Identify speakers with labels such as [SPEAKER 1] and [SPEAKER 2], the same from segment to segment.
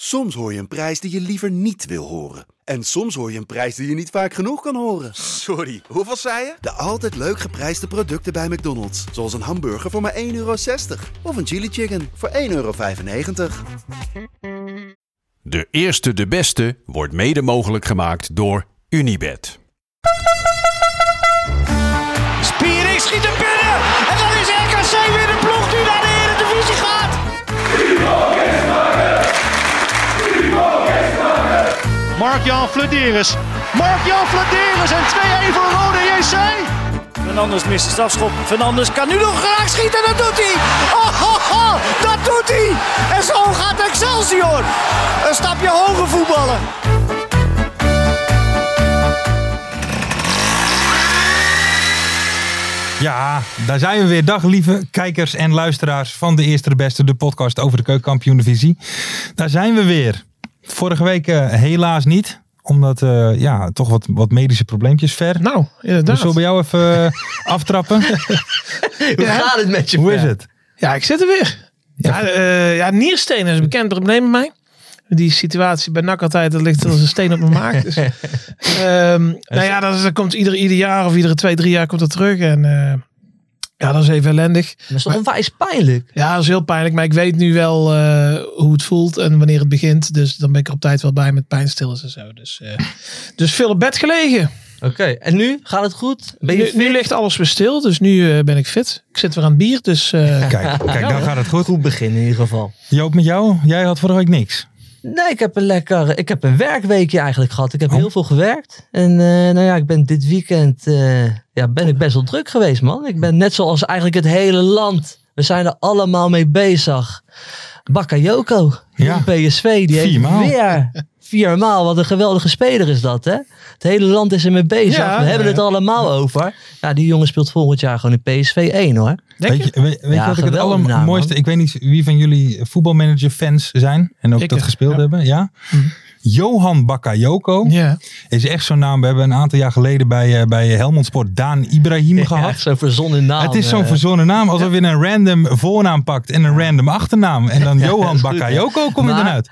[SPEAKER 1] Soms hoor je een prijs die je liever niet wil horen. En soms hoor je een prijs die je niet vaak genoeg kan horen.
[SPEAKER 2] Sorry, hoeveel zei je?
[SPEAKER 1] De altijd leuk geprijsde producten bij McDonald's. Zoals een hamburger voor maar 1,60 euro. Of een chili chicken voor 1,95 euro.
[SPEAKER 3] De eerste de beste wordt mede mogelijk gemaakt door Unibed.
[SPEAKER 4] Spiering schiet er binnen. En dan is RKC weer de ploeg die naar de Eredivisie gaat. Mark-Jan Flederis. Mark-Jan Flederis en 2-1 voor Rode JC. Fernandes mist de strafschop. Fernandes kan nu nog graag schieten. Dat doet hij. Oh, oh, oh, dat doet hij. En zo gaat Excelsior. Een stapje hoger voetballen.
[SPEAKER 5] Ja, daar zijn we weer. Dag lieve kijkers en luisteraars van de Eerste de Beste, de podcast over de Keukenkampioen Divisie. Daar zijn we weer. Vorige week eh, helaas niet, omdat eh, ja, toch wat, wat medische probleempjes ver.
[SPEAKER 6] Nou, inderdaad.
[SPEAKER 5] dus we bij jou even eh, aftrappen.
[SPEAKER 6] Hoe gaat het met je?
[SPEAKER 5] Hoe is het?
[SPEAKER 6] Ja, ik zit er weer. Ja, eh, ja nierstenen is een bekend probleem bij mij. Die situatie bij NAC altijd, dat ligt als een steen op mijn maag. Dus, ehm, nou ja, dat, is- dat komt ieder, ieder jaar of iedere twee, drie jaar komt dat terug. En eh, ja, dat is even ellendig.
[SPEAKER 7] Dat is toch onwijs pijnlijk?
[SPEAKER 6] Ja, dat is heel pijnlijk. Maar ik weet nu wel eh, hoe het voelt en wanneer het begint. Dus dan ben ik er op tijd wel bij met pijnstillers en zo. Dus, eh, dus veel op bed gelegen.
[SPEAKER 7] Oké, en nu gaat het goed? Ben je
[SPEAKER 6] Nu, nu ligt alles weer stil, dus nu eh, ben ik fit. Ik zit weer aan het bier, dus... eh,
[SPEAKER 5] Kijk, kijk dan gaat het goed.
[SPEAKER 7] goed beginnen in ieder geval?
[SPEAKER 5] Joop, met jou? Jij had vorige week niks.
[SPEAKER 7] Nee, ik heb een lekker, ik heb een werkweekje eigenlijk gehad. Ik heb heel veel gewerkt. En eh, nou ja, ik ben dit weekend, eh, ja, ben ik best wel druk geweest, man. Ik ben net zoals eigenlijk het hele land. We zijn er allemaal mee bezig. Bakayoko,
[SPEAKER 5] Ja.
[SPEAKER 7] ja. PSV, die
[SPEAKER 5] Viermaal.
[SPEAKER 7] heeft weer viermaal. Wat een geweldige speler is dat, hè? Het hele land is ermee bezig.
[SPEAKER 6] Ja,
[SPEAKER 7] We hebben
[SPEAKER 6] ja,
[SPEAKER 7] het allemaal over. Ja, die jongen speelt volgend jaar gewoon in PSV 1, hoor.
[SPEAKER 6] denk
[SPEAKER 5] Weet je, weet, weet
[SPEAKER 7] Ja,
[SPEAKER 5] je wat ik het
[SPEAKER 7] geweldig naam,
[SPEAKER 5] allermooiste...
[SPEAKER 7] man.
[SPEAKER 5] ik weet niet wie van jullie voetbalmanager fans zijn en ook
[SPEAKER 6] Ik,
[SPEAKER 5] dat
[SPEAKER 6] eh,
[SPEAKER 5] gespeeld
[SPEAKER 6] ja. Mhm.
[SPEAKER 5] hebben. Ja? Johan Bakayoko.
[SPEAKER 6] Ja.
[SPEAKER 5] Is echt zo'n naam. We hebben een aantal jaar geleden bij, eh, bij Helmond Sport Daan Ibrahim gehad.
[SPEAKER 7] Zo'n verzonnen naam.
[SPEAKER 5] het is zo'n
[SPEAKER 7] eh,
[SPEAKER 5] verzonnen naam. Alsof je een random voornaam pakt en een random achternaam. En dan Johan Bakayoko kom je
[SPEAKER 7] Maar-
[SPEAKER 5] dan uit.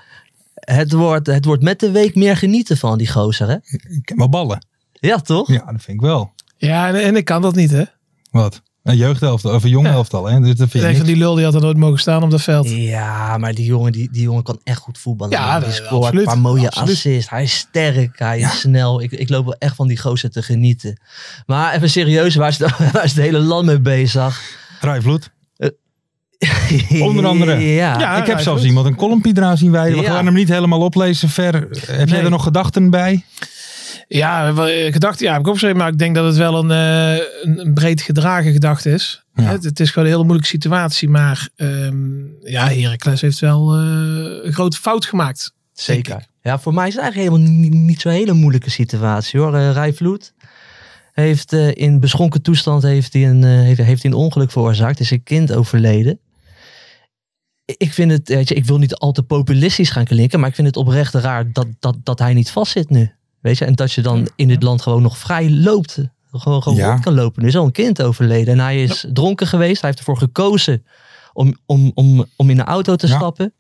[SPEAKER 7] Het wordt, het wordt met de week meer genieten van die gozer, hè?
[SPEAKER 5] Ik heb wel ballen.
[SPEAKER 7] Ja, toch?
[SPEAKER 5] Ja, dat vind ik wel.
[SPEAKER 6] Ja, en, en ik kan dat niet, hè?
[SPEAKER 5] Wat? Een jeugdelftal of een jong
[SPEAKER 6] Ja.
[SPEAKER 5] elftal. Hè? Dus dat vind
[SPEAKER 6] Ik
[SPEAKER 5] je
[SPEAKER 6] denk
[SPEAKER 5] niks.
[SPEAKER 6] van die lul die had er nooit mogen staan op dat veld.
[SPEAKER 7] Mm. Ja, maar die jongen, die, die jongen kan echt goed voetballen.
[SPEAKER 6] Ja,
[SPEAKER 7] man. die
[SPEAKER 6] dat-
[SPEAKER 7] scoort
[SPEAKER 6] absoluut.
[SPEAKER 7] een paar mooie
[SPEAKER 6] Absoluut.
[SPEAKER 7] assists. Hij is sterk, hij is snel. Ik, ik loop wel echt van die gozer te genieten. Maar even serieus, waar is, de- waar is het hele land mee bezig?
[SPEAKER 5] Rijvloed. Onder andere.
[SPEAKER 7] Ja.
[SPEAKER 6] Ja.
[SPEAKER 5] ik heb
[SPEAKER 6] Rijvloed.
[SPEAKER 5] zelfs iemand een kolompie eraan zien wijden. We
[SPEAKER 7] Ja.
[SPEAKER 5] gaan hem niet helemaal oplezen. Ver, heb jij
[SPEAKER 6] Nee.
[SPEAKER 5] er nog gedachten bij?
[SPEAKER 6] Ja, wel, eh, gedachte, ja, heb ik opgeschreven, maar ik denk dat het wel een, eh, een, een breed gedragen gedachte is.
[SPEAKER 5] Ja.
[SPEAKER 6] Het, het is gewoon een hele moeilijke situatie, maar ehm, ja, Heracles heeft wel eh, een grote fout gemaakt.
[SPEAKER 7] Zeker. Ja, voor mij is het eigenlijk helemaal ni- niet, zo'n hele moeilijke situatie hoor. Eh Rijvloed heeft eh, in beschonken toestand heeft hij een, eh, heeft, heeft hij een ongeluk veroorzaakt. Is een kind overleden. I- Ik vind het, weet je, ik wil niet al te populistisch gaan klinken, maar ik vind het oprecht raar dat, dat, dat hij niet vastzit nu. Weet je, en dat je dan in dit land gewoon nog vrij loopt. Gewoon, gewoon
[SPEAKER 5] Ja.
[SPEAKER 7] rond kan lopen. Er is al een kind overleden en hij is dronken geweest. Hij heeft ervoor gekozen om, om, om, om in een auto te
[SPEAKER 5] Ja.
[SPEAKER 7] stappen.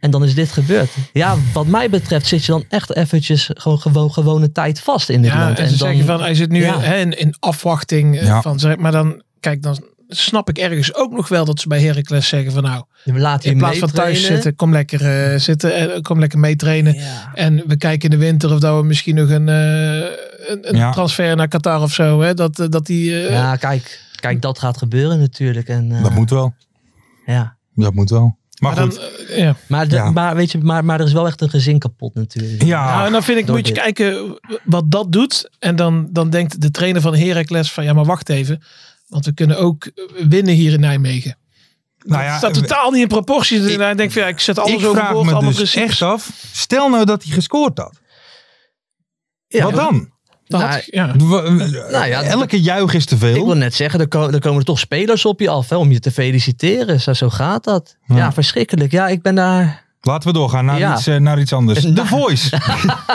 [SPEAKER 7] En dan is dit gebeurd. Ja, wat mij betreft zit je dan echt eventjes gewoon, gewoon gewone tijd vast in dit
[SPEAKER 6] Ja,
[SPEAKER 7] land.
[SPEAKER 6] en ze
[SPEAKER 7] dan,
[SPEAKER 6] zeggen van, hij zit nu
[SPEAKER 7] Ja.
[SPEAKER 6] hè, in, in afwachting eh,
[SPEAKER 5] Ja.
[SPEAKER 6] van, zeg, maar dan, kijk, dan snap ik ergens ook nog wel dat ze bij Heracles zeggen van, nou,
[SPEAKER 7] laat je
[SPEAKER 6] in plaats van thuis zitten, kom lekker eh, zitten en kom lekker meetrainen.
[SPEAKER 7] Ja.
[SPEAKER 6] En we kijken in de winter of dat we misschien nog een, eh, een, een
[SPEAKER 5] Ja.
[SPEAKER 6] transfer naar Qatar of zo. Hè? Dat, eh, dat die, eh,
[SPEAKER 7] ja, kijk, kijk, dat gaat gebeuren natuurlijk. En, eh,
[SPEAKER 5] Dat moet wel.
[SPEAKER 7] Ja.
[SPEAKER 5] Dat moet wel. Maar,
[SPEAKER 6] maar dan,
[SPEAKER 5] goed.
[SPEAKER 6] eh, ja.
[SPEAKER 7] Maar, de-
[SPEAKER 5] Ja.
[SPEAKER 7] maar, weet je, maar, maar er is wel echt een gezin kapot natuurlijk.
[SPEAKER 5] ja,
[SPEAKER 6] nou, en dan vind ik,
[SPEAKER 7] door
[SPEAKER 6] moet je
[SPEAKER 7] dit.
[SPEAKER 6] kijken wat dat doet. En dan, dan denkt de trainer van Heracles van, ja maar wacht even. Want we kunnen ook winnen hier in Nijmegen.
[SPEAKER 5] nou
[SPEAKER 6] dat
[SPEAKER 5] ja,
[SPEAKER 6] staat
[SPEAKER 5] we-
[SPEAKER 6] totaal niet in proportie. Dus ik denk van, ja, ik zet alles
[SPEAKER 5] ik vraag
[SPEAKER 6] overboord,
[SPEAKER 5] me
[SPEAKER 6] allemaal
[SPEAKER 5] dus
[SPEAKER 6] precies.
[SPEAKER 5] echt af. Stel nou dat hij gescoord had.
[SPEAKER 7] Ja.
[SPEAKER 5] Wat dan?
[SPEAKER 6] Dat had
[SPEAKER 7] Nou,
[SPEAKER 6] ik- ja.
[SPEAKER 5] W-
[SPEAKER 7] Nou ja,
[SPEAKER 5] Elke juich is te
[SPEAKER 7] Ik wil
[SPEAKER 5] veel.
[SPEAKER 7] net zeggen, er, ko- er komen er toch spelers op je af hè, om je te feliciteren. Zo, zo gaat dat.
[SPEAKER 5] Ja.
[SPEAKER 7] Ja. verschrikkelijk. Ja, ik ben daar.
[SPEAKER 5] Laten we doorgaan naar,
[SPEAKER 7] Ja.
[SPEAKER 5] iets, eh, naar iets anders.
[SPEAKER 7] Nou.
[SPEAKER 5] The Voice.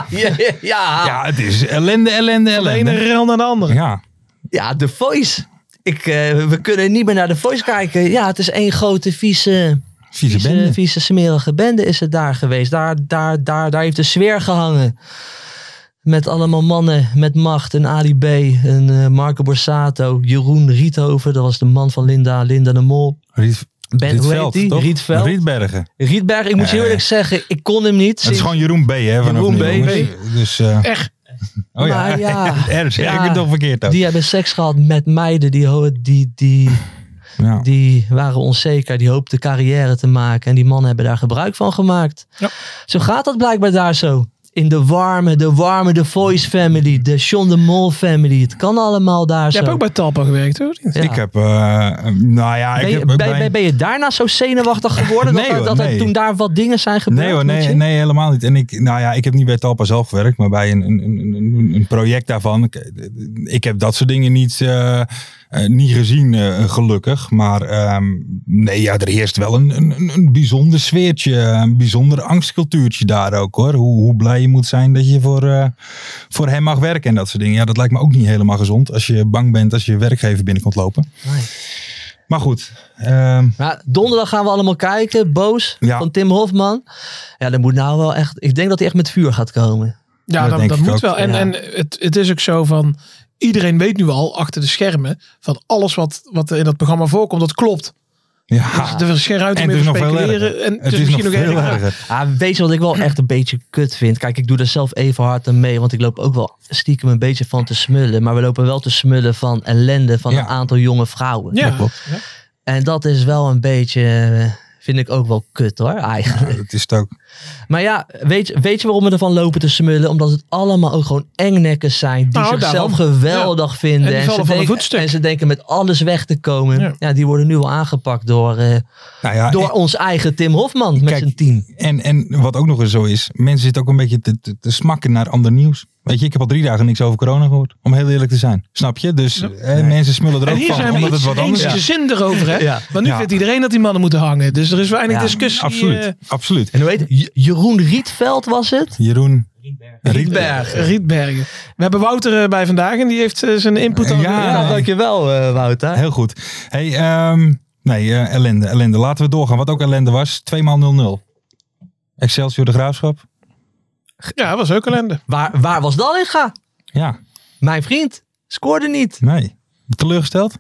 [SPEAKER 7] Ja, ja.
[SPEAKER 5] Ja, het is ellende, ellende,
[SPEAKER 6] De ene
[SPEAKER 5] ellende.
[SPEAKER 6] rel naar de andere.
[SPEAKER 5] Ja,
[SPEAKER 7] Ja, The Voice. Ik, eh, we kunnen niet meer naar The Voice kijken. Ja, het is één grote vieze
[SPEAKER 5] Vieze
[SPEAKER 7] vieze,
[SPEAKER 5] bende.
[SPEAKER 7] vieze smerige bende is het daar geweest. Daar, daar, daar, daar heeft de sfeer gehangen. Met allemaal mannen met macht. Een Ali B, een eh, Marco Borsato, Jeroen Riethoven. Dat was de man van Linda, Linda de Mol.
[SPEAKER 5] Riet,
[SPEAKER 7] Ben, hoe heet
[SPEAKER 5] Rietveld,
[SPEAKER 7] die?
[SPEAKER 5] toch?
[SPEAKER 7] Rietveld.
[SPEAKER 5] Rietbergen.
[SPEAKER 7] Rietberg, ik moet je
[SPEAKER 5] Ja.
[SPEAKER 7] eerlijk zeggen, ik kon hem niet.
[SPEAKER 5] Eh. Het is gewoon Jeroen B, hè? vanaf
[SPEAKER 7] Jeroen
[SPEAKER 5] nu,
[SPEAKER 7] B.
[SPEAKER 5] jongens. Dus, eh,
[SPEAKER 6] Echt.
[SPEAKER 5] Oh ja.
[SPEAKER 7] Maar ja.
[SPEAKER 5] Ergens heb ik
[SPEAKER 7] Ja.
[SPEAKER 5] het toch verkeerd ook.
[SPEAKER 7] Die hebben seks gehad met meiden die, ho- die, die,
[SPEAKER 5] Ja.
[SPEAKER 7] die waren onzeker. Die hoopten carrière te maken. En die mannen hebben daar gebruik van gemaakt.
[SPEAKER 6] Ja.
[SPEAKER 7] Zo gaat dat blijkbaar daar zo. In de warme, de warme, de Voice Family, de Sean de Mol Family. Het kan allemaal daar
[SPEAKER 6] Je
[SPEAKER 7] zo.
[SPEAKER 6] hebt ook bij Talpa gewerkt, hoor.
[SPEAKER 7] Ja.
[SPEAKER 5] Ik heb, eh, nou ja, ik
[SPEAKER 7] ben, je,
[SPEAKER 5] heb ook
[SPEAKER 7] ben, ben- ben je daarna zo zenuwachtig geworden?
[SPEAKER 5] Nee
[SPEAKER 7] dat er,
[SPEAKER 5] hoor,
[SPEAKER 7] dat er
[SPEAKER 5] nee.
[SPEAKER 7] toen daar wat dingen zijn gebeurd?
[SPEAKER 5] Nee hoor,
[SPEAKER 7] met je?
[SPEAKER 5] nee, nee, helemaal niet. En ik, nou ja, ik heb niet bij Talpa zelf gewerkt, maar bij een, een, een- een, een project daarvan. Ik, ik heb dat soort dingen niet, eh, eh, niet gezien, eh, gelukkig. Maar ehm, nee, ja, er heerst wel een, een, een- een bijzonder sfeertje, een bijzonder angstcultuurtje daar ook hoor. Hoe, hoe blij je moet zijn dat je voor, eh, voor hem mag werken en dat soort dingen. Ja, dat lijkt me ook niet helemaal gezond als je bang bent als je werkgever binnenkomt lopen.
[SPEAKER 7] Nee.
[SPEAKER 5] Maar goed, ehm,
[SPEAKER 7] Maar donderdag gaan we allemaal kijken. Boos
[SPEAKER 5] Ja.
[SPEAKER 7] van Tim Hofman. Ja, dat moet nou wel echt. Ik denk dat hij echt met vuur gaat komen.
[SPEAKER 6] Ja,
[SPEAKER 5] Dat
[SPEAKER 6] dat,
[SPEAKER 5] denk
[SPEAKER 6] dat
[SPEAKER 5] ik
[SPEAKER 6] moet
[SPEAKER 5] ook.
[SPEAKER 6] wel. En,
[SPEAKER 7] Ja.
[SPEAKER 6] en het, het is ook zo van... Iedereen weet nu al, achter de schermen... van alles wat, wat er in dat programma voorkomt, dat klopt.
[SPEAKER 5] ja.
[SPEAKER 6] Dus er is geen ruimte
[SPEAKER 5] En
[SPEAKER 6] meer
[SPEAKER 5] het is
[SPEAKER 6] voor
[SPEAKER 5] nog veel
[SPEAKER 6] speculeren.
[SPEAKER 5] erger.
[SPEAKER 6] En
[SPEAKER 5] Het is nog veel
[SPEAKER 6] erger.
[SPEAKER 5] erger.
[SPEAKER 7] Ah, weet je wat ik wel echt een beetje kut vind? Kijk, ik doe daar zelf even hard aan mee. Want ik loop ook wel stiekem een beetje van te smullen. Maar we lopen wel te smullen van ellende van
[SPEAKER 5] Ja.
[SPEAKER 7] een aantal jonge vrouwen.
[SPEAKER 6] Ja.
[SPEAKER 5] klopt.
[SPEAKER 6] Ja.
[SPEAKER 7] En dat is wel een beetje. eh, Vind ik ook wel kut hoor, eigenlijk.
[SPEAKER 5] Dat is het ook.
[SPEAKER 7] Maar ja, weet, weet je waarom we ervan lopen te smullen? Omdat het allemaal ook gewoon engnekkers zijn. Die
[SPEAKER 6] Nou,
[SPEAKER 7] zichzelf
[SPEAKER 6] daarom.
[SPEAKER 7] geweldig
[SPEAKER 6] En
[SPEAKER 7] vinden.
[SPEAKER 6] die vallen
[SPEAKER 7] ze
[SPEAKER 6] van de
[SPEAKER 7] denken,
[SPEAKER 6] voetstuk.
[SPEAKER 7] en ze denken met alles weg te komen. Ja.
[SPEAKER 6] Ja. Ah,
[SPEAKER 7] die worden nu al aangepakt door, eh,
[SPEAKER 5] Nou ja,
[SPEAKER 7] door ons eigen Tim Hofman met
[SPEAKER 5] Kijk,
[SPEAKER 7] zijn team.
[SPEAKER 5] En, en wat ook nog eens zo is, mensen zitten ook een beetje te, te, te smakken naar ander nieuws. Weet je, ik heb al drie dagen niks over corona gehoord. Om heel eerlijk te zijn. Snap je? Dus eh, mensen smullen er
[SPEAKER 6] En
[SPEAKER 5] ook
[SPEAKER 6] hier
[SPEAKER 5] van,
[SPEAKER 6] zijn we
[SPEAKER 5] omdat
[SPEAKER 6] iets
[SPEAKER 5] het wat anders
[SPEAKER 6] eens
[SPEAKER 5] is.
[SPEAKER 6] zin erover, hè?
[SPEAKER 7] Ja.
[SPEAKER 6] Want nu
[SPEAKER 5] Ja.
[SPEAKER 6] vindt iedereen dat die mannen moeten hangen. Dus er is weinig
[SPEAKER 7] Ja,
[SPEAKER 6] discussie.
[SPEAKER 5] Absoluut,
[SPEAKER 6] eh,
[SPEAKER 5] absoluut.
[SPEAKER 7] En hoe heet het? J- Jeroen Rietveld was het?
[SPEAKER 5] Jeroen
[SPEAKER 6] Rietbergen. eh, Rietbergen. We hebben Wouter eh, bij vandaag en die heeft eh, zijn input al.
[SPEAKER 5] Ja.
[SPEAKER 6] gegeven.
[SPEAKER 7] Ja, dankjewel eh, Wouter.
[SPEAKER 5] Heel goed. Hey, ehm, nee, eh, ellende, ellende. Laten we doorgaan. Wat ook ellende was, 2x0-0. Excelsior de Graafschap.
[SPEAKER 6] Ja, dat was ook ellende.
[SPEAKER 7] Waar, waar was Dallinga?
[SPEAKER 5] Ja,
[SPEAKER 7] Mijn vriend. Scoorde niet.
[SPEAKER 5] nee. Teleurgesteld?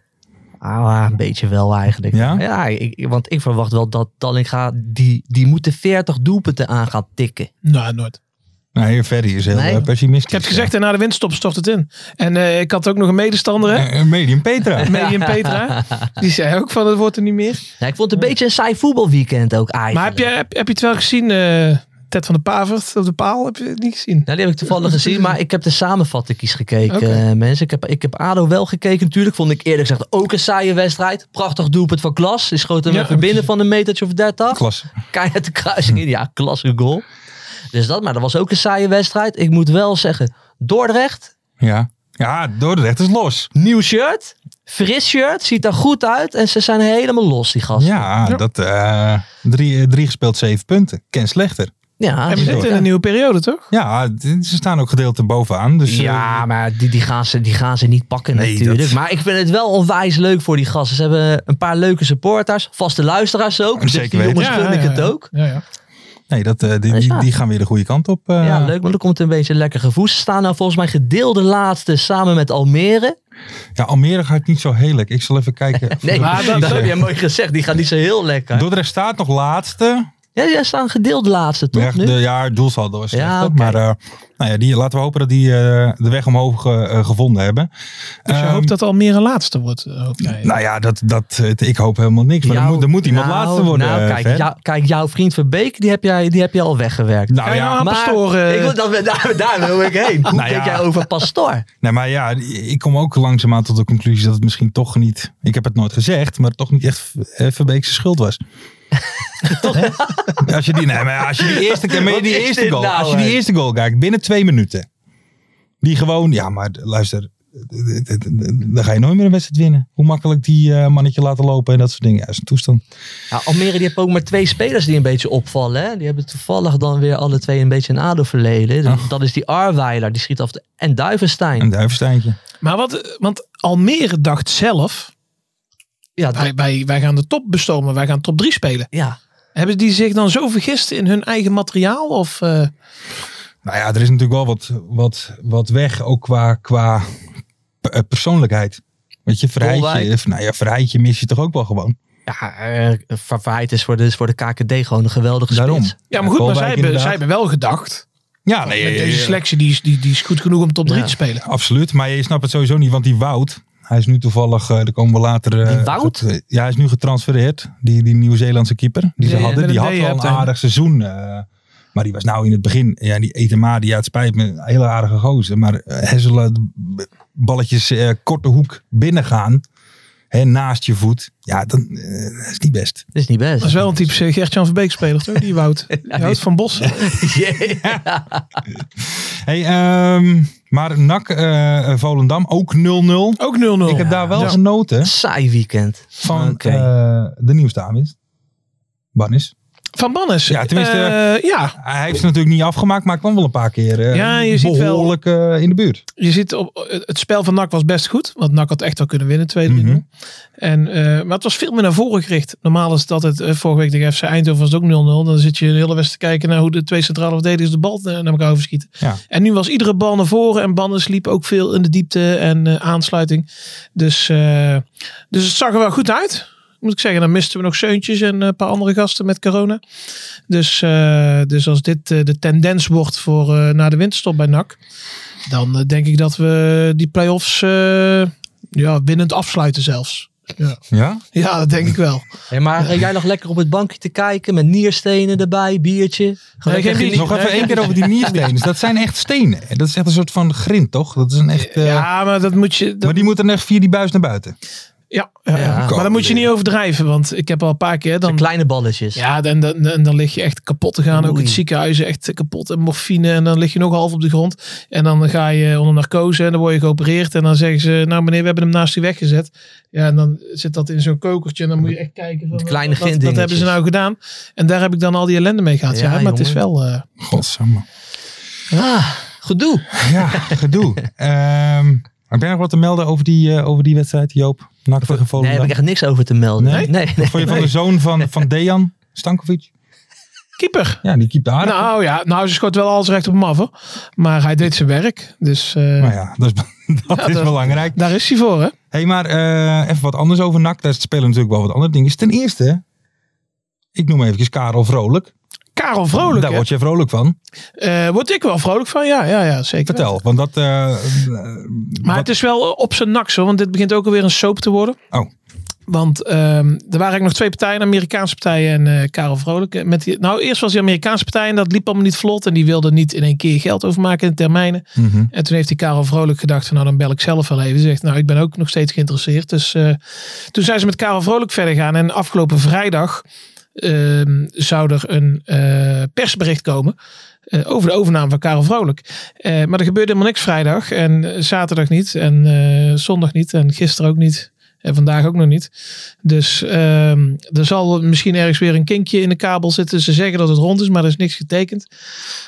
[SPEAKER 7] Ah, een beetje wel eigenlijk.
[SPEAKER 5] Ja?
[SPEAKER 7] ik, ik- want ik verwacht wel dat Dallinga, die, die moet de 40 doelpunten aan gaat tikken.
[SPEAKER 6] Nou, nooit.
[SPEAKER 5] Nee, Ferry is heel
[SPEAKER 7] Nee.
[SPEAKER 5] eh,
[SPEAKER 6] Ik
[SPEAKER 5] pessimistisch.
[SPEAKER 6] heb het gezegd en na de winststop stort het in. En eh, ik had ook nog een medestander, hè?
[SPEAKER 5] Eh, eh, Medium Petra.
[SPEAKER 6] Medium Petra. Die zei ook van het wordt er niet meer.
[SPEAKER 7] Ja, ik vond het een beetje een saai voetbalweekend ook eigenlijk.
[SPEAKER 6] Maar heb je, heb, heb je het wel gezien, eh, Ted van de Pavert op de paal? Heb je het niet gezien?
[SPEAKER 7] Nou, die heb ik toevallig gezien, maar ik heb de samenvattingkies gekeken,
[SPEAKER 6] Oké.
[SPEAKER 7] eh, mensen. Ik heb, ik heb ADO wel gekeken natuurlijk. Vond ik eerlijk gezegd ook een saaie wedstrijd. Prachtig doelpunt van Klas. Die schoot hem
[SPEAKER 6] Ja,
[SPEAKER 7] even binnen van een metertje of 30.
[SPEAKER 5] Klasse.
[SPEAKER 7] Keihard de kruising in. Ja, klasse goal. Dus dat, maar dat was ook een saaie wedstrijd. Ik moet wel zeggen, Dordrecht,
[SPEAKER 5] Ja. Ja, Dordrecht is los.
[SPEAKER 7] nieuw shirt. Fris shirt, ziet er goed uit. En ze zijn helemaal los, die gasten.
[SPEAKER 5] Ja, dat eh, drie, eh, drie gespeeld zeven punten. Ken slechter.
[SPEAKER 7] ja
[SPEAKER 6] en we
[SPEAKER 7] dus-
[SPEAKER 6] zitten in een nieuwe periode, toch?
[SPEAKER 5] Ja, d- ze staan ook gedeelte bovenaan. Dus, eh,
[SPEAKER 7] Ja, maar die, die, gaan ze, die gaan ze niet pakken
[SPEAKER 5] Nee,
[SPEAKER 7] natuurlijk.
[SPEAKER 5] dat-
[SPEAKER 7] Maar ik vind het wel onwijs leuk voor die gasten. Ze hebben een paar leuke supporters, vaste luisteraars ook. Dus
[SPEAKER 5] Zeker
[SPEAKER 7] die
[SPEAKER 5] weten.
[SPEAKER 7] jongens
[SPEAKER 6] Ja,
[SPEAKER 7] gun
[SPEAKER 6] ja,
[SPEAKER 7] ik
[SPEAKER 6] ja,
[SPEAKER 7] het
[SPEAKER 6] ja.
[SPEAKER 7] ook.
[SPEAKER 6] Ja, ja.
[SPEAKER 5] nee, dat, eh, die,
[SPEAKER 7] Dat is
[SPEAKER 5] die,
[SPEAKER 7] waar.
[SPEAKER 5] die gaan weer de goede kant op. eh.
[SPEAKER 7] Ja, leuk, maar er komt een beetje lekker gevoes. Ze staan nou volgens mij gedeelde laatste samen met Almere.
[SPEAKER 5] Ja, Almere gaat niet zo heerlijk. Ik zal even kijken.
[SPEAKER 7] Nee,
[SPEAKER 6] Maar
[SPEAKER 7] dat,
[SPEAKER 6] dat-
[SPEAKER 7] heb jij mooi gezegd. Die gaan niet zo heel lekker.
[SPEAKER 5] Dordrecht staat nog laatste.
[SPEAKER 7] Ja, jij staan gedeelde laatste toch
[SPEAKER 5] Ja,
[SPEAKER 7] nu?
[SPEAKER 5] de, ja, het doelsaldo was slecht.
[SPEAKER 7] Ja,
[SPEAKER 5] hoor.
[SPEAKER 7] oké.
[SPEAKER 5] Maar eh, nou ja, die, laten we hopen dat die eh, de weg omhoog eh, gevonden hebben.
[SPEAKER 6] Dus je
[SPEAKER 5] Ehm,
[SPEAKER 6] hoopt dat Almere laatste wordt. eh, hoop jij.
[SPEAKER 5] Nou ja, dat, dat, eh, ik hoop helemaal niks. Maar er
[SPEAKER 7] Jouw-
[SPEAKER 5] moet, er moet iemand
[SPEAKER 7] nou,
[SPEAKER 5] laatste worden.
[SPEAKER 7] Nou,
[SPEAKER 5] eh,
[SPEAKER 7] kijk,
[SPEAKER 5] Fer.
[SPEAKER 7] jou- kijk, jouw vriend Verbeek, die heb jij, die heb je al weggewerkt.
[SPEAKER 5] nou
[SPEAKER 6] Ga je
[SPEAKER 5] ja,
[SPEAKER 6] nou aan Pastoor, eh,
[SPEAKER 7] ik wil, dat, we- daar, daar wil ik heen. Hoe
[SPEAKER 5] Nou
[SPEAKER 7] denk
[SPEAKER 5] ja.
[SPEAKER 7] jij over Pastoor?
[SPEAKER 5] Nee, maar ja, ik kom ook langzaamaan tot de conclusie dat het misschien toch niet, ik heb het nooit gezegd, maar toch niet echt eh, Verbeekse schuld was. Hè? als je die, nee, maar als je die eerste keer, maar
[SPEAKER 7] Wat
[SPEAKER 5] die
[SPEAKER 7] is
[SPEAKER 5] eerste
[SPEAKER 7] dit
[SPEAKER 5] goal,
[SPEAKER 7] nou,
[SPEAKER 5] als je die
[SPEAKER 7] hè?
[SPEAKER 5] eerste goal kijkt, binnen twee minuten, die gewoon, ja, maar luister, dan ga je nooit meer een wedstrijd winnen. Hoe makkelijk die eh, mannetje laten lopen en dat soort dingen. Ja, is een toestand.
[SPEAKER 7] Ja, Almere die heeft ook maar twee spelers die een beetje opvallen. Hè? Die hebben toevallig dan weer alle twee een beetje een ADO-verleden.
[SPEAKER 5] Oh.
[SPEAKER 7] Dus Dat is die Arweiler, die schiet af. de- en Duivenstein.
[SPEAKER 5] Een duivensteintje.
[SPEAKER 6] Maar wat, eh, want Almere dacht zelf,
[SPEAKER 7] ja, dat-
[SPEAKER 6] wij, wij, wij gaan de top bestomen, wij gaan top 3 spelen.
[SPEAKER 7] ja.
[SPEAKER 6] Hebben die zich dan zo vergist in hun eigen materiaal? Of, eh,
[SPEAKER 5] Nou ja, er is natuurlijk wel wat, wat, wat weg, ook qua, qua p- eh, persoonlijkheid. Want je verheid je,
[SPEAKER 7] Dolwijk.
[SPEAKER 5] nou ja, verheid je mis je toch ook wel gewoon.
[SPEAKER 7] Ja, eh, Van Verheid is voor de, is voor de KKD gewoon een geweldige
[SPEAKER 5] Daarom.
[SPEAKER 7] spits.
[SPEAKER 6] ja, maar goed, maar
[SPEAKER 5] Kolwijk
[SPEAKER 6] zij hebben,
[SPEAKER 5] inderdaad.
[SPEAKER 6] zij hebben wel gedacht.
[SPEAKER 5] Ja, nee,
[SPEAKER 6] met
[SPEAKER 5] ja,
[SPEAKER 6] deze
[SPEAKER 5] ja,
[SPEAKER 6] selectie die is, die, die is goed genoeg om top 3
[SPEAKER 7] Ja.
[SPEAKER 6] te spelen.
[SPEAKER 5] absoluut. Maar je snapt het sowieso niet, want die Wout, hij is nu toevallig, eh daar komen we later... eh,
[SPEAKER 7] Die Wout?
[SPEAKER 5] get- ja, hij is nu getransfereerd, die, die Nieuw-Zeelandse keeper die ze
[SPEAKER 6] Ja, ja,
[SPEAKER 5] hadden.
[SPEAKER 6] met
[SPEAKER 5] Die
[SPEAKER 6] een
[SPEAKER 5] had
[SPEAKER 6] D
[SPEAKER 5] al een
[SPEAKER 6] hebt, hè?
[SPEAKER 5] aardig seizoen, eh, maar die was nou in het begin, ja, die Etemadia, ja, het spijt me, een hele aardige gozer. Maar eh, hij zal eh, b- balletjes eh, korte hoek binnengaan, hè, naast je voet, ja, dan, eh, dat is niet best.
[SPEAKER 7] Dat is niet best.
[SPEAKER 6] Dat is wel een type eh, Gert-Jan van Beek speler, toch? Die Wout. Die Wout van Bossen.
[SPEAKER 5] Hey, ehm, maar NAC eh, Volendam, ook 0-0.
[SPEAKER 6] Ook 0-0.
[SPEAKER 5] Ik heb daar wel
[SPEAKER 6] Ja.
[SPEAKER 5] genoten.
[SPEAKER 7] Een saai weekend.
[SPEAKER 5] van
[SPEAKER 7] Oké.
[SPEAKER 5] eh, de nieuwste aanwinst. Bannis.
[SPEAKER 6] Van Bannes.
[SPEAKER 5] Ja, tenminste,
[SPEAKER 6] Eh, ja,
[SPEAKER 5] Hij heeft ze natuurlijk niet afgemaakt, maar hij kwam wel een paar keer eh,
[SPEAKER 6] Ja, je ziet wel-
[SPEAKER 5] behoorlijk eh, in de buurt.
[SPEAKER 6] je ziet op, het spel van NAC was best goed. Want NAC had echt wel kunnen winnen, 2
[SPEAKER 5] Mhm.
[SPEAKER 6] En, eh, maar het was veel meer naar voren gericht. Normaal is dat het, eh, vorige week tegen FC Eindhoven was het ook 0-0. Dan zit je de hele wedstrijd te kijken naar hoe de twee centrale verdedigers de bal eh, naar elkaar overschieten.
[SPEAKER 5] Ja.
[SPEAKER 6] En nu was iedere bal naar voren en Bannes liep ook veel in de diepte en eh, aansluiting. Dus, eh, dus het zag er wel goed uit. Moet ik zeggen, dan misten we nog Seuntjes en eh, een paar andere gasten met corona. Dus, eh, dus als dit eh, de tendens wordt voor eh, na de winterstop bij NAC, dan eh, denk ik dat we die play-offs eh, ja, winnend afsluiten zelfs.
[SPEAKER 5] Ja?
[SPEAKER 6] Ja, dat denk ik wel.
[SPEAKER 7] Hey, maar eh, jij lag lekker op het bankje te kijken met nierstenen erbij, biertje. Gewoon
[SPEAKER 6] Nee,
[SPEAKER 7] lekker
[SPEAKER 6] geen
[SPEAKER 7] genieten.
[SPEAKER 5] Nog even één keer over die nierstenen. Dus dat zijn echt stenen. Dat is echt een soort van grind, toch? Dat is een echt... eh,
[SPEAKER 6] ja, maar dat moet je. dat-
[SPEAKER 5] Maar die moeten echt via die buis naar buiten.
[SPEAKER 6] ja, ja,
[SPEAKER 7] Ja.
[SPEAKER 6] maar dat moet je niet overdrijven, want ik heb al een paar keer dan.
[SPEAKER 7] Kleine balletjes.
[SPEAKER 6] Ja, dan, dan, dan, dan lig je echt kapot te gaan. Ook
[SPEAKER 7] Oei.
[SPEAKER 6] het ziekenhuis echt kapot. En morfine. En dan lig je nog half op de grond. En dan ga je onder narcose. En dan word je geopereerd. En dan zeggen ze, nou meneer, we hebben hem naast u weggezet. Ja, en dan zit dat in zo'n kokertje. En dan moet je echt kijken. Van,
[SPEAKER 7] Met kleine
[SPEAKER 6] wat, wat, wat
[SPEAKER 7] dingetjes.
[SPEAKER 6] hebben ze nou gedaan? En daar heb ik dan al die ellende mee gehad. Ja,
[SPEAKER 7] Ja,
[SPEAKER 6] maar het is wel... eh,
[SPEAKER 5] Godsamme.
[SPEAKER 7] Ah, gedoe.
[SPEAKER 5] Ja, gedoe. Ehm, heb jij nog wat te melden over die, eh, over die wedstrijd, Joop? NAC tegen
[SPEAKER 7] Daar heb
[SPEAKER 5] Volendam.
[SPEAKER 7] ik echt niks over te melden.
[SPEAKER 5] Nee?
[SPEAKER 7] nee,
[SPEAKER 5] Wat vond je van de zoon van, van Dejan Stankovic?
[SPEAKER 6] keeper.
[SPEAKER 5] Ja, die keept aardig. Nou,
[SPEAKER 6] Nou ja, nou ze schot wel alles recht op hem af. Hoor. Maar hij deed zijn werk. Dus eh,
[SPEAKER 5] ja, dat is, dat is
[SPEAKER 6] dat-
[SPEAKER 5] belangrijk.
[SPEAKER 6] daar is hij voor hè.
[SPEAKER 5] Hé, hey, maar eh, even wat anders over NAC. Daar spelen natuurlijk wel wat andere dingen. Ten eerste, ik noem even Karel Vrolijk.
[SPEAKER 6] Karel Vrolijk.
[SPEAKER 5] Daar
[SPEAKER 6] hè?
[SPEAKER 5] word je vrolijk van.
[SPEAKER 6] Eh, word ik wel vrolijk van. Ja, ja, ja zeker.
[SPEAKER 5] Vertel, want dat... eh, eh,
[SPEAKER 6] Maar
[SPEAKER 5] wat-
[SPEAKER 6] het is wel eh, op zijn naks hoor, want dit begint ook alweer een soap te worden.
[SPEAKER 5] Oh.
[SPEAKER 6] Want ehm, er waren eigenlijk nog twee partijen, een Amerikaanse partij en eh, Karel Vrolijk. Eh, Met die, nou, eerst was die Amerikaanse partij en dat liep allemaal niet vlot. En die wilde niet in één keer geld overmaken in termijnen.
[SPEAKER 5] Mhm.
[SPEAKER 6] En toen heeft die Karel Vrolijk gedacht, van, nou dan bel ik zelf wel even. Ze Zegt, nou ik ben ook nog steeds geïnteresseerd. Dus eh, toen zijn ze met Karel Vrolijk verder gaan. En afgelopen vrijdag ehm, zou er een eh, persbericht komen eh, over de overname van Karel Vrolijk. Eh, maar er gebeurde helemaal niks vrijdag. En eh, zaterdag niet. En eh, zondag niet. En gisteren ook niet. En vandaag ook nog niet. Dus ehm, er zal misschien ergens weer een kinkje in de kabel zitten. Ze zeggen dat het rond is, maar er is niks getekend.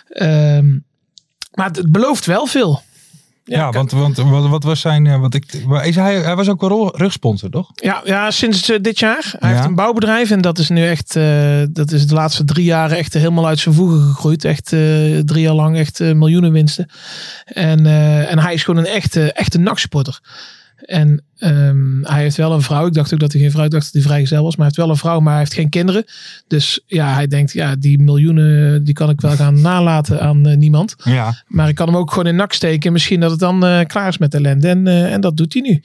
[SPEAKER 6] Ehm, maar het- het belooft wel veel.
[SPEAKER 5] ja, want, want wat, wat was zijn... eh, Wat ik, is hij, hij was ook een rol- rugsponsor, toch?
[SPEAKER 6] Ja, ja sinds eh, dit jaar. Hij
[SPEAKER 5] Ja.
[SPEAKER 6] heeft een bouwbedrijf en dat is nu echt, eh, dat is de laatste drie jaren echt helemaal uit zijn voegen gegroeid. Echt eh, drie jaar lang echt eh, miljoenen winsten. En, eh, en hij is gewoon een echte, echte NAC-supporter. En ehm, hij heeft wel een vrouw. Ik dacht ook dat hij geen vrouw ik dacht dat hij vrijgezel was. Maar hij heeft wel een vrouw, maar hij heeft geen kinderen. Dus ja, hij denkt, ja, die miljoenen die kan ik wel gaan nalaten aan eh, niemand.
[SPEAKER 5] Ja.
[SPEAKER 6] Maar ik kan hem ook gewoon in nak steken. Misschien dat het dan eh, klaar is met ellende. En, eh, en dat doet hij nu.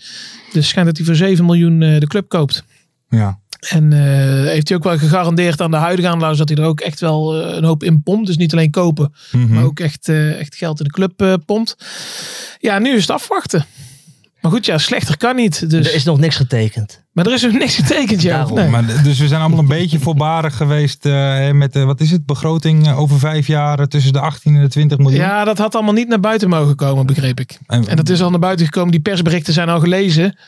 [SPEAKER 6] Dus schijnt dat hij voor 7 miljoen eh, de club koopt.
[SPEAKER 5] ja.
[SPEAKER 6] En eh, heeft hij ook wel gegarandeerd aan de huidige aanlouders dat hij er ook echt wel eh, een hoop in pompt. Dus niet alleen kopen,
[SPEAKER 5] Mhm.
[SPEAKER 6] maar ook echt, eh, echt geld in de club eh, pompt. Ja, nu is het afwachten. Maar goed, ja, slechter kan niet. Dus.
[SPEAKER 7] Er is nog niks getekend.
[SPEAKER 6] Maar er is nog niks getekend, ja.
[SPEAKER 7] Daarom.
[SPEAKER 6] Nee.
[SPEAKER 5] Maar, d- dus we zijn allemaal een beetje voorbarig geweest eh, met, de wat is het, begroting eh, over vijf jaar eh, tussen de 18 en de 20 miljoen.
[SPEAKER 6] Ja, dat had allemaal niet naar buiten mogen komen, begreep ik. En dat is al naar buiten gekomen. Die persberichten zijn al gelezen.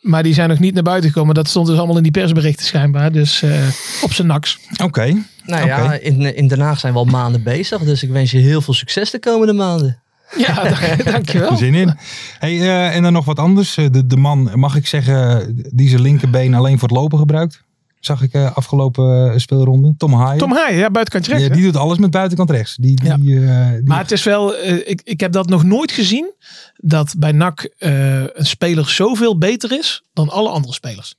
[SPEAKER 6] Maar die zijn nog niet naar buiten gekomen. Dat stond dus allemaal in die persberichten schijnbaar. Dus eh, op zijn naks.
[SPEAKER 5] Oké.
[SPEAKER 7] Nou
[SPEAKER 5] Oké.
[SPEAKER 7] ja, in, in Den Haag zijn we al maanden bezig. Dus ik wens je heel veel succes de komende maanden.
[SPEAKER 6] Ja, dank, dankjewel.
[SPEAKER 5] Zin in. Hey, eh, en dan nog wat anders. Eh, De, de man, mag ik zeggen, die zijn linkerbeen alleen voor het lopen gebruikt. Zag ik eh, afgelopen eh, speelronde. Tom Haaien.
[SPEAKER 6] Tom Haaien, ja, buitenkant rechts.
[SPEAKER 5] Ja,
[SPEAKER 6] hè?
[SPEAKER 5] die doet alles met buitenkant rechts. Die, die,
[SPEAKER 6] Ja.
[SPEAKER 5] eh, die-
[SPEAKER 6] Maar het is wel, eh, ik, ik heb dat nog nooit gezien, dat bij NAC eh, een speler zoveel beter is dan alle andere spelers.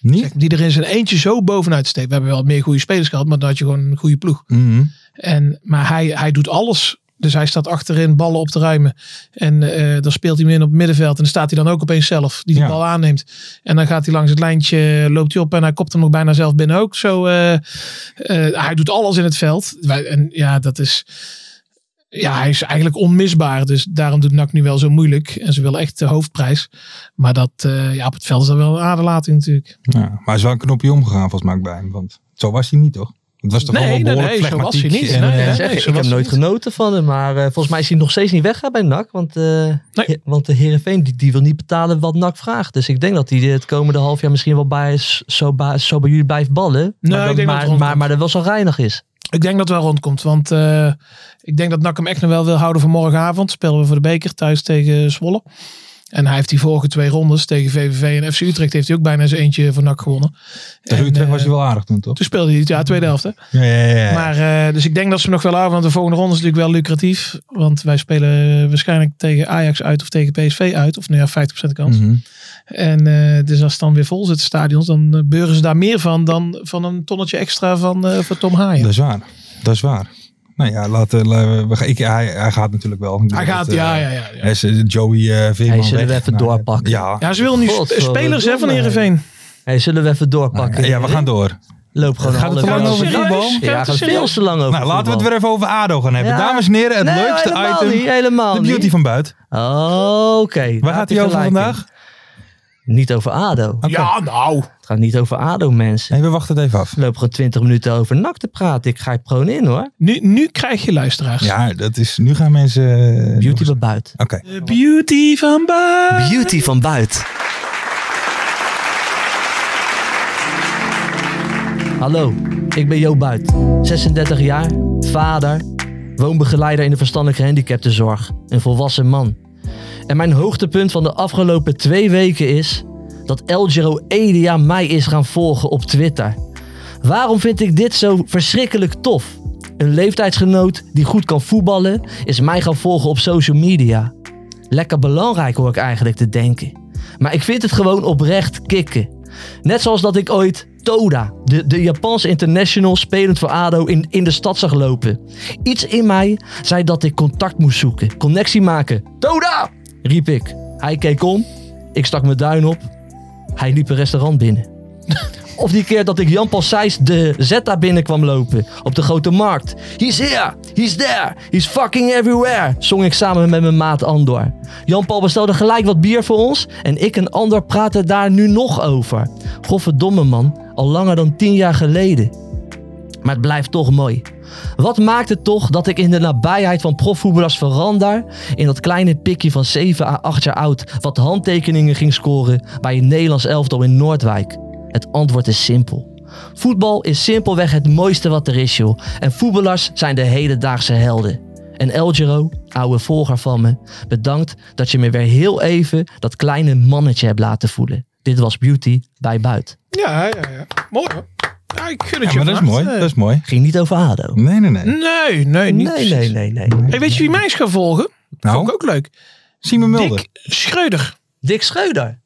[SPEAKER 5] niet?
[SPEAKER 6] Zeg, die er in zijn eentje zo bovenuit steekt. We hebben wel meer goede spelers gehad, maar dan had je gewoon een goede ploeg.
[SPEAKER 5] Mhm.
[SPEAKER 6] En, maar hij, hij doet alles. Dus hij staat achterin ballen op te ruimen. En eh, dan speelt hij hem in op het middenveld. En dan staat hij dan ook opeens zelf. Die de
[SPEAKER 5] Ja.
[SPEAKER 6] bal aanneemt. En dan gaat hij langs het lijntje. Loopt hij op. En hij kopt hem nog bijna zelf binnen ook. Zo, eh, eh, hij doet alles in het veld. Wij- En ja, dat is... Ja, hij is eigenlijk onmisbaar. Dus daarom doet NAC nu wel zo moeilijk. En ze willen echt de hoofdprijs. Maar dat, eh, ja, op het veld is dat wel een aderlating natuurlijk.
[SPEAKER 5] Ja, maar hij is wel een knopje omgegaan volgens mij ook bij hem. Want zo was hij niet, toch? Het was toch
[SPEAKER 6] Nee,
[SPEAKER 5] wel
[SPEAKER 6] nee,
[SPEAKER 5] behoorlijk
[SPEAKER 6] nee, zo was hij
[SPEAKER 5] flegmatiek
[SPEAKER 6] niet.
[SPEAKER 5] en,
[SPEAKER 6] Nee,
[SPEAKER 5] eh,
[SPEAKER 6] nee, nee.
[SPEAKER 7] Zeg,
[SPEAKER 6] zo
[SPEAKER 7] ik heb
[SPEAKER 6] was
[SPEAKER 7] nooit
[SPEAKER 6] het.
[SPEAKER 7] genoten van hem, maar eh, volgens mij is hij nog steeds niet weggaan bij NAC. Want, eh, he- want de Herenveen die, die wil niet betalen wat NAC vraagt. Dus ik denk dat hij het komende half jaar misschien wel bij S- zo bij, zo bij jullie blijft ballen.
[SPEAKER 6] Nee, ik
[SPEAKER 7] maar, dan-
[SPEAKER 6] denk dat het
[SPEAKER 7] maar,
[SPEAKER 6] rondkomt.
[SPEAKER 7] maar, maar dat wel zo reinig is.
[SPEAKER 6] Ik denk dat het wel rondkomt. Want eh, ik denk dat NAC hem echt nog wel wil houden voor morgenavond. Spelen we voor de beker thuis tegen Zwolle. En hij heeft die vorige twee rondes tegen VVV en FC Utrecht heeft hij ook bijna eens eentje voor NAC gewonnen.
[SPEAKER 5] Tegen
[SPEAKER 6] En,
[SPEAKER 5] Utrecht was
[SPEAKER 6] eh,
[SPEAKER 5] hij wel aardig toen, toch?
[SPEAKER 6] Toen speelde hij ja, tweede helft. Hè?
[SPEAKER 5] Ja, ja, ja. ja.
[SPEAKER 6] Maar, eh, dus ik denk dat ze hem nog wel houden. Want de volgende ronde is natuurlijk wel lucratief. Want wij spelen waarschijnlijk tegen Ajax uit of tegen PSV uit. Of nou ja, 50% kans.
[SPEAKER 5] Mhm.
[SPEAKER 6] En eh, dus als het dan weer vol zit, de stadions, dan eh, beuren ze daar meer van dan van een tonnetje extra van, eh, voor Tom Haaien.
[SPEAKER 5] Dat is waar. Dat is waar. Nou ja, laten we- we. Ik, hij, hij gaat natuurlijk wel. Ik
[SPEAKER 6] hij
[SPEAKER 5] bedoel,
[SPEAKER 6] gaat,
[SPEAKER 5] dat, eh,
[SPEAKER 6] ja, ja, ja, ja.
[SPEAKER 5] hij is, eh, Joey eh Veerman
[SPEAKER 7] Hij zullen we
[SPEAKER 5] weg.
[SPEAKER 7] even
[SPEAKER 5] Nou,
[SPEAKER 7] doorpakken.
[SPEAKER 5] Ja.
[SPEAKER 6] Ja, ze willen nu sp-
[SPEAKER 7] Godverdomme.
[SPEAKER 6] spelers hè, van Heerenveen.
[SPEAKER 7] Hey, zullen we even
[SPEAKER 5] Ja,
[SPEAKER 7] doorpakken?
[SPEAKER 5] ja, we gaan door.
[SPEAKER 7] Loop gewoon
[SPEAKER 5] Gaat het te lang
[SPEAKER 7] half uur.
[SPEAKER 5] over
[SPEAKER 6] serieus?
[SPEAKER 5] voetbal?
[SPEAKER 6] Gaat
[SPEAKER 7] Ja,
[SPEAKER 6] het
[SPEAKER 7] gaat
[SPEAKER 6] serieus?
[SPEAKER 7] veel te lang over
[SPEAKER 5] Nou, laten we het
[SPEAKER 7] voetbal.
[SPEAKER 5] weer even over ADO gaan hebben.
[SPEAKER 7] Ja.
[SPEAKER 5] Dames en heren, het
[SPEAKER 7] Nee,
[SPEAKER 5] leukste
[SPEAKER 7] helemaal
[SPEAKER 5] item.
[SPEAKER 7] Niet, helemaal
[SPEAKER 5] de beauty
[SPEAKER 7] niet.
[SPEAKER 5] van buiten.
[SPEAKER 7] Oh, Oké. daar
[SPEAKER 5] Waar
[SPEAKER 7] heb
[SPEAKER 5] gaat
[SPEAKER 7] je
[SPEAKER 5] hij over
[SPEAKER 7] gelijk in.
[SPEAKER 5] vandaag?
[SPEAKER 7] Niet over ADO.
[SPEAKER 6] Ja, nou.
[SPEAKER 7] Het gaat niet over ADO, mensen.
[SPEAKER 5] Nee, we wachten het even af.
[SPEAKER 7] We lopen gewoon 20 minuten over NAC te praten. Ik grijp gewoon in, hoor.
[SPEAKER 6] Nu, nu krijg je luisteraars.
[SPEAKER 5] Ja, dat is, nu gaan mensen... eh, nog
[SPEAKER 7] Beauty
[SPEAKER 5] eens-
[SPEAKER 7] van buiten.
[SPEAKER 5] Oké.
[SPEAKER 6] De beauty van Baar.
[SPEAKER 7] Beauty van buiten. Hallo, ik ben Jo Buit, 36 jaar, vader, woonbegeleider in de verstandelijke gehandicaptenzorg, een volwassen man. En mijn hoogtepunt van de afgelopen twee weken is dat El Giro Elia mij is gaan volgen op Twitter. Waarom vind ik dit zo verschrikkelijk tof? Een leeftijdsgenoot die goed kan voetballen is mij gaan volgen op social media. Lekker belangrijk hoor ik eigenlijk te denken. Maar ik vind het gewoon oprecht kicken. Net zoals dat ik ooit Toda, de, de Japanse international spelend voor ADO, in, in de stad zag lopen. Iets in mij zei dat ik contact moest zoeken, connectie maken. Toda! riep ik. Hij keek om, ik stak mijn duin op. Hij liep een restaurant binnen. Of die keer dat ik Jan Paul Sijs de Zeta binnenkwam lopen op de grote markt. He's here, he's there, he's fucking everywhere, zong ik samen met mijn maat Andor. Jan Paul bestelde gelijk wat bier voor ons en ik en Andor praten daar nu nog over. Godverdomme man, al langer dan tien jaar geleden. Maar het blijft toch mooi. Wat maakt het toch dat ik in de nabijheid van profvoetballers Verandar, in dat kleine pikje van 7 à 8 jaar oud, wat handtekeningen ging scoren bij een Nederlands elftal in Noordwijk? Het antwoord is simpel. Voetbal is simpelweg het mooiste wat er is, joh. En voetballers zijn de hedendaagse helden. En El Giro, oude volger van me, bedankt dat je me weer heel even dat kleine mannetje hebt laten voelen. Dit was Beauty bij Buit.
[SPEAKER 6] Ja, ja, ja. Mooi hoor. Ja, ik gun
[SPEAKER 5] Ja,
[SPEAKER 6] het je
[SPEAKER 5] maar dat is
[SPEAKER 6] van
[SPEAKER 5] mooi.
[SPEAKER 6] harte.
[SPEAKER 5] Dat is mooi.
[SPEAKER 7] Ging niet over ADO.
[SPEAKER 5] Nee, nee,
[SPEAKER 6] Hm,
[SPEAKER 5] nee.
[SPEAKER 6] Nee, nee, niet
[SPEAKER 7] Nee, nee, nee, nee.
[SPEAKER 6] Hey, weet je wie mij is gaan volgen? Vond ik
[SPEAKER 5] Nou,
[SPEAKER 6] ook leuk.
[SPEAKER 5] Simon Mulder.
[SPEAKER 6] Dick Schreuder,
[SPEAKER 7] Dick Schreuder.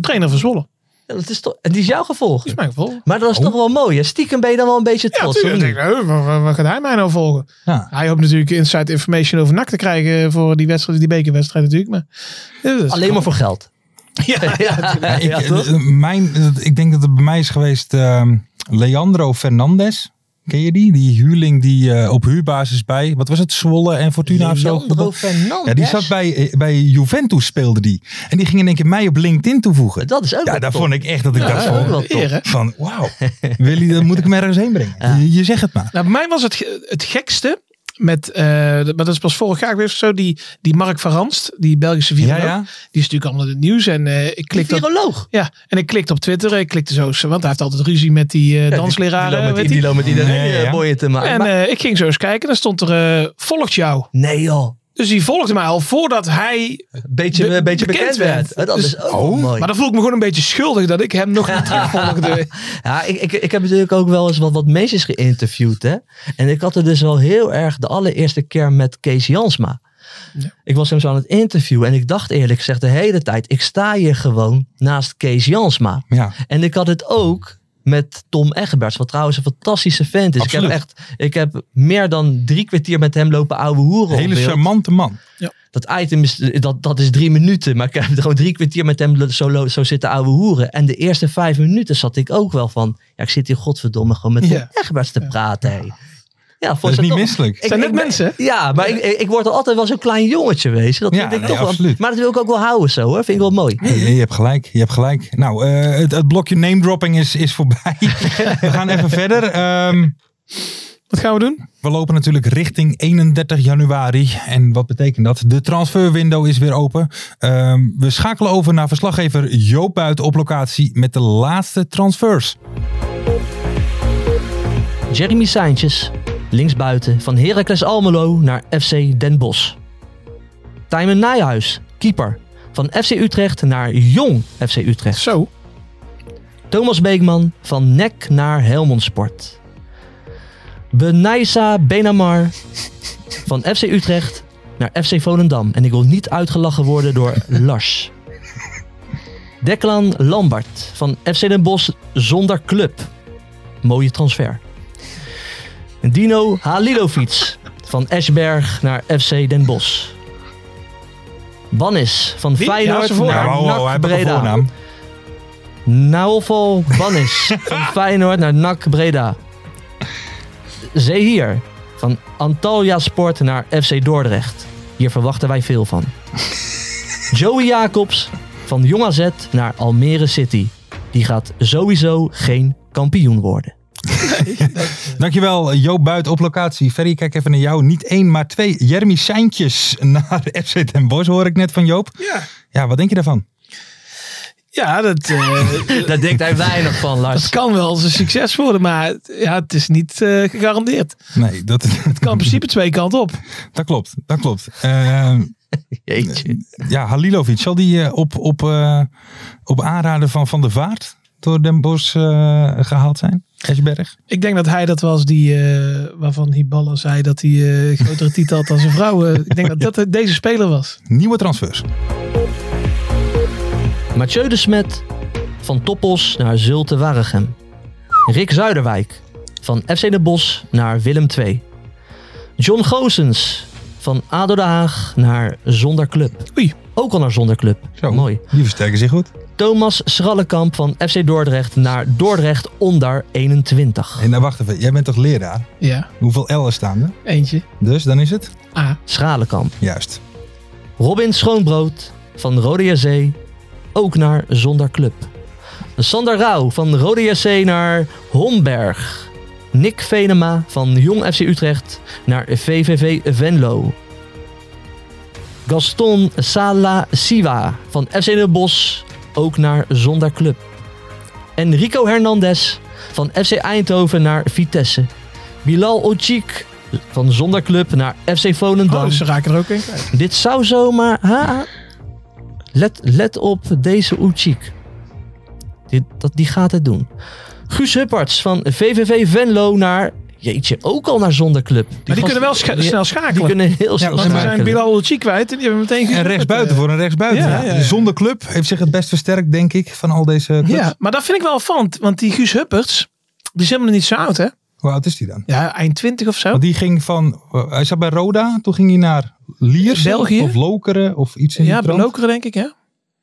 [SPEAKER 6] trainer van Zwolle.
[SPEAKER 7] Ja, Dat is toch, en die is jou gevolgd.
[SPEAKER 6] Die is mij gevolgd.
[SPEAKER 7] Maar dat is
[SPEAKER 5] Oh.
[SPEAKER 7] toch wel mooi. Hè? Stiekem ben je dan wel een beetje
[SPEAKER 6] Ja,
[SPEAKER 7] trots.
[SPEAKER 6] tuurlijk.
[SPEAKER 7] hoor.
[SPEAKER 6] Ik denk, eh, waar, waar- waar gaat hij mij nou volgen?
[SPEAKER 5] Ja.
[SPEAKER 6] Hij hoopt natuurlijk inside information over NAC te krijgen voor die wedstrijd, die bekerwedstrijd natuurlijk. Maar, Ja, dat is-
[SPEAKER 7] Alleen maar voor geld.
[SPEAKER 6] Ja,
[SPEAKER 7] ja,
[SPEAKER 5] Ik,
[SPEAKER 7] toch?
[SPEAKER 5] eh, mijn, eh, ik denk dat het bij mij is geweest ehm, Leandro Fernandez. Ken je die? Die huurling die eh, op huurbasis bij, wat was het, Zwolle en Fortuna of zo?
[SPEAKER 7] Leandro
[SPEAKER 5] Ja, die
[SPEAKER 7] Fernandes.
[SPEAKER 5] zat bij, eh, bij Juventus speelde die. En die ging in één keer mij op LinkedIn toevoegen.
[SPEAKER 7] Dat is ook
[SPEAKER 5] ja,
[SPEAKER 7] wel
[SPEAKER 5] daar
[SPEAKER 7] top.
[SPEAKER 5] vond ik echt dat ik dacht
[SPEAKER 7] dat is ook
[SPEAKER 5] van, eh,
[SPEAKER 7] wel top.
[SPEAKER 6] eer, hè?
[SPEAKER 5] van wauw, Willy, dan moet ik hem ergens heen brengen.
[SPEAKER 7] Ja.
[SPEAKER 5] Je, je zegt het maar.
[SPEAKER 6] Nou, bij mij was het, ge- het gekste met, eh, maar dat is pas vorig jaar geweest of zo, die, die Mark van Ranst, die Belgische viroloog,
[SPEAKER 5] Ja, ja.
[SPEAKER 6] die is natuurlijk allemaal in het nieuws en eh, ik
[SPEAKER 7] Die
[SPEAKER 6] klikte op,
[SPEAKER 7] viroloog.
[SPEAKER 6] ja, en ik klikte op Twitter, ik klikte zo, eens- want hij heeft altijd ruzie met die eh dansleraren,
[SPEAKER 7] Die loopt
[SPEAKER 6] weet
[SPEAKER 7] met,
[SPEAKER 6] je.
[SPEAKER 7] die loopt met iedereen
[SPEAKER 5] Nee,
[SPEAKER 7] eh,
[SPEAKER 5] ja.
[SPEAKER 7] boeien te maken.
[SPEAKER 6] En
[SPEAKER 7] Maar-
[SPEAKER 6] eh, ik ging zo eens kijken, dan stond er eh volgt jou.
[SPEAKER 7] nee joh.
[SPEAKER 6] Dus die volgde mij al voordat hij...
[SPEAKER 7] Beetje,
[SPEAKER 6] Be-
[SPEAKER 7] beetje
[SPEAKER 6] bekend
[SPEAKER 7] bekend, werd.
[SPEAKER 6] werd.
[SPEAKER 7] Oh, dat
[SPEAKER 6] Dus-
[SPEAKER 7] is ook wel mooi.
[SPEAKER 6] Maar dan voel ik me gewoon een beetje schuldig dat ik hem nog niet terugvolgde.
[SPEAKER 7] Ja, ik, ik, ik heb natuurlijk ook wel eens wat, wat mensen geïnterviewd. Hè? En ik had er dus wel heel erg de allereerste keer met Kees Jansma. Ik was hem zo aan het interviewen en ik dacht eerlijk gezegd de hele tijd, ik sta hier gewoon naast Kees Jansma.
[SPEAKER 5] Ja.
[SPEAKER 7] En ik had het ook met Tom Egberts, wat trouwens een fantastische vent is. Ik heb,
[SPEAKER 5] Absoluut.
[SPEAKER 7] echt, ik heb meer dan drie kwartier met hem lopen ouwe hoeren. op
[SPEAKER 5] Hele
[SPEAKER 7] beeld.
[SPEAKER 5] charmante man.
[SPEAKER 7] Dat item is, eh, dat, dat is drie minuten, maar ik heb gewoon drie kwartier met hem zo, lo- zo zitten ouwe hoeren. En de eerste vijf minuten zat ik ook wel van, ja, ik zit hier godverdomme gewoon met Tom
[SPEAKER 6] Ja.
[SPEAKER 7] Egberts te praten. hé. Ja,
[SPEAKER 5] Dat
[SPEAKER 7] voor
[SPEAKER 5] is niet
[SPEAKER 7] toch-
[SPEAKER 5] misselijk.
[SPEAKER 7] ik-
[SPEAKER 6] Zijn
[SPEAKER 7] ik
[SPEAKER 6] net
[SPEAKER 7] ben-
[SPEAKER 6] mensen, hè?
[SPEAKER 7] Ja, maar ik, ik word al altijd wel zo'n klein jongetje geweest. Dat
[SPEAKER 5] Ja,
[SPEAKER 7] vind ik
[SPEAKER 5] nee,
[SPEAKER 7] toch wel-
[SPEAKER 5] absoluut.
[SPEAKER 7] Maar dat wil ik ook wel houden zo hoor. Vind ik wel mooi.
[SPEAKER 5] Nee, Je hebt gelijk, je hebt gelijk. Nou, eh, het, het blokje name dropping is, is voorbij. We gaan even verder. Ehm,
[SPEAKER 6] Wat gaan we doen?
[SPEAKER 5] we lopen natuurlijk richting 31 januari. En wat betekent dat? De transferwindow is weer open. Ehm, we schakelen over naar verslaggever Joop Buit op locatie met de laatste transfers.
[SPEAKER 7] Jeremy Saintjes, linksbuiten van Heracles Almelo naar FC Den Bosch. Tijmen Nijhuis, keeper van FC Utrecht naar Jong FC Utrecht.
[SPEAKER 6] Zo.
[SPEAKER 7] Thomas Beekman van NEC naar Helmond Sport. Benaisa Benamar van FC Utrecht naar FC Volendam. En ik wil niet uitgelachen worden door Lars. Declan Lambert van FC Den Bosch zonder club. Mooie transfer. Dino Halilovic van Esberg naar FC Den Bosch. Bannis van
[SPEAKER 6] Wie? Ja,
[SPEAKER 7] Feyenoord
[SPEAKER 6] zijn voornaam.
[SPEAKER 7] naar
[SPEAKER 5] Nou,
[SPEAKER 7] NAC
[SPEAKER 5] hij heeft een
[SPEAKER 7] Breda.
[SPEAKER 5] voornaam.
[SPEAKER 7] Naufal Bannis van Feyenoord naar NAC Breda. Zehier van Antalya Sport naar FC Dordrecht. Hier verwachten wij veel van. Joey Jacobs van Jong AZ naar Almere City. Die gaat sowieso geen kampioen worden.
[SPEAKER 5] Dankjewel Joop Buit op locatie. Ferry, kijk even naar jou. Niet één, maar twee Jeremy Seintjes naar FC Den Bosch hoor ik net van Joop.
[SPEAKER 6] Ja.
[SPEAKER 5] Ja, wat denk je daarvan?
[SPEAKER 6] Ja, dat, eh,
[SPEAKER 7] Daar denkt hij weinig van,
[SPEAKER 6] dat
[SPEAKER 7] Lars.
[SPEAKER 6] kan wel eens een succes worden, maar ja, het is niet eh, gegarandeerd. Het
[SPEAKER 5] Nee, dat,
[SPEAKER 6] kan in principe twee kanten op.
[SPEAKER 5] dat klopt. Dat klopt. Eh,
[SPEAKER 7] Jeetje.
[SPEAKER 5] ja, Halilovic, zal die eh, op, op, eh, op aanraden van Van der Vaart door Den Bosch eh, gehaald zijn? Esberg?
[SPEAKER 6] Ik denk dat hij dat was die, eh, waarvan Hiballa zei dat hij eh grotere titel had dan zijn vrouw. eh. ik denk dat dat het deze speler was.
[SPEAKER 5] Nieuwe transfers.
[SPEAKER 7] Mathieu de Smet van Toppos naar Zulte Waregem. Rick Zuiderwijk van FC Den Bosch naar Willem II. John Goosens van ADO Den Haag naar Zonder Club.
[SPEAKER 6] Oei.
[SPEAKER 7] Ook al naar Zonder Club.
[SPEAKER 5] Zo,
[SPEAKER 7] Mooi.
[SPEAKER 5] Die versterken zich goed.
[SPEAKER 7] Thomas Schrallekamp van FC Dordrecht naar Dordrecht onder 21.
[SPEAKER 5] En nou, wacht even. Jij bent toch leraar?
[SPEAKER 6] Ja,
[SPEAKER 5] Hoeveel L'en staan er?
[SPEAKER 6] eentje.
[SPEAKER 5] Dus, dan is het?
[SPEAKER 6] Ah,
[SPEAKER 7] Schrallekamp.
[SPEAKER 5] Juist.
[SPEAKER 7] Robin Schoonbrood van Rode JC ook naar Zonder Club. Sander Rauw van Rode JC naar Homberg. Nick Venema van Jong FC Utrecht naar VVV Venlo. Gaston Sala Siwa van FC Den Bosch ook naar Zonder Club. En Rico Hernandez van FC Eindhoven naar Vitesse. Bilal Ochik van Zonder Club naar FC Volendam.
[SPEAKER 6] oh, ze raken er ook in. kwijt.
[SPEAKER 7] Dit zou zomaar. Ha? Let, let op deze Oetjik. Dit, dat, die gaat het doen. Guus Hupperts van VVV Venlo naar. Jeetje, ook al naar zonder club.
[SPEAKER 6] Maar
[SPEAKER 7] Die,
[SPEAKER 6] die
[SPEAKER 7] gasten-
[SPEAKER 6] kunnen wel scha-
[SPEAKER 7] die-
[SPEAKER 6] snel
[SPEAKER 7] Die
[SPEAKER 6] schakelen.
[SPEAKER 7] kunnen heel snel
[SPEAKER 5] want
[SPEAKER 6] Want we zijn
[SPEAKER 7] schakelen.
[SPEAKER 6] Bilal Olci kwijt en die hebben meteen... eh.
[SPEAKER 5] En
[SPEAKER 6] gehuurd.
[SPEAKER 5] rechtsbuiten voor een rechtsbuiten.
[SPEAKER 6] Ja, ja, ja.
[SPEAKER 5] Zonder club heeft zich het best versterkt, denk ik, van al deze clubs.
[SPEAKER 6] Ja, maar dat vind ik wel van, want die Guus Hupperts, die is helemaal niet zo oud, hè?
[SPEAKER 5] Hoe oud is die dan?
[SPEAKER 6] Ja, eind 20 of zo.
[SPEAKER 5] Want Oh, die ging van, eh, hij zat bij Roda, toen ging hij naar Liers
[SPEAKER 6] België?
[SPEAKER 5] of Lokeren of iets in
[SPEAKER 6] Ja,
[SPEAKER 5] die trant.
[SPEAKER 6] Belokeren denk ik, hè?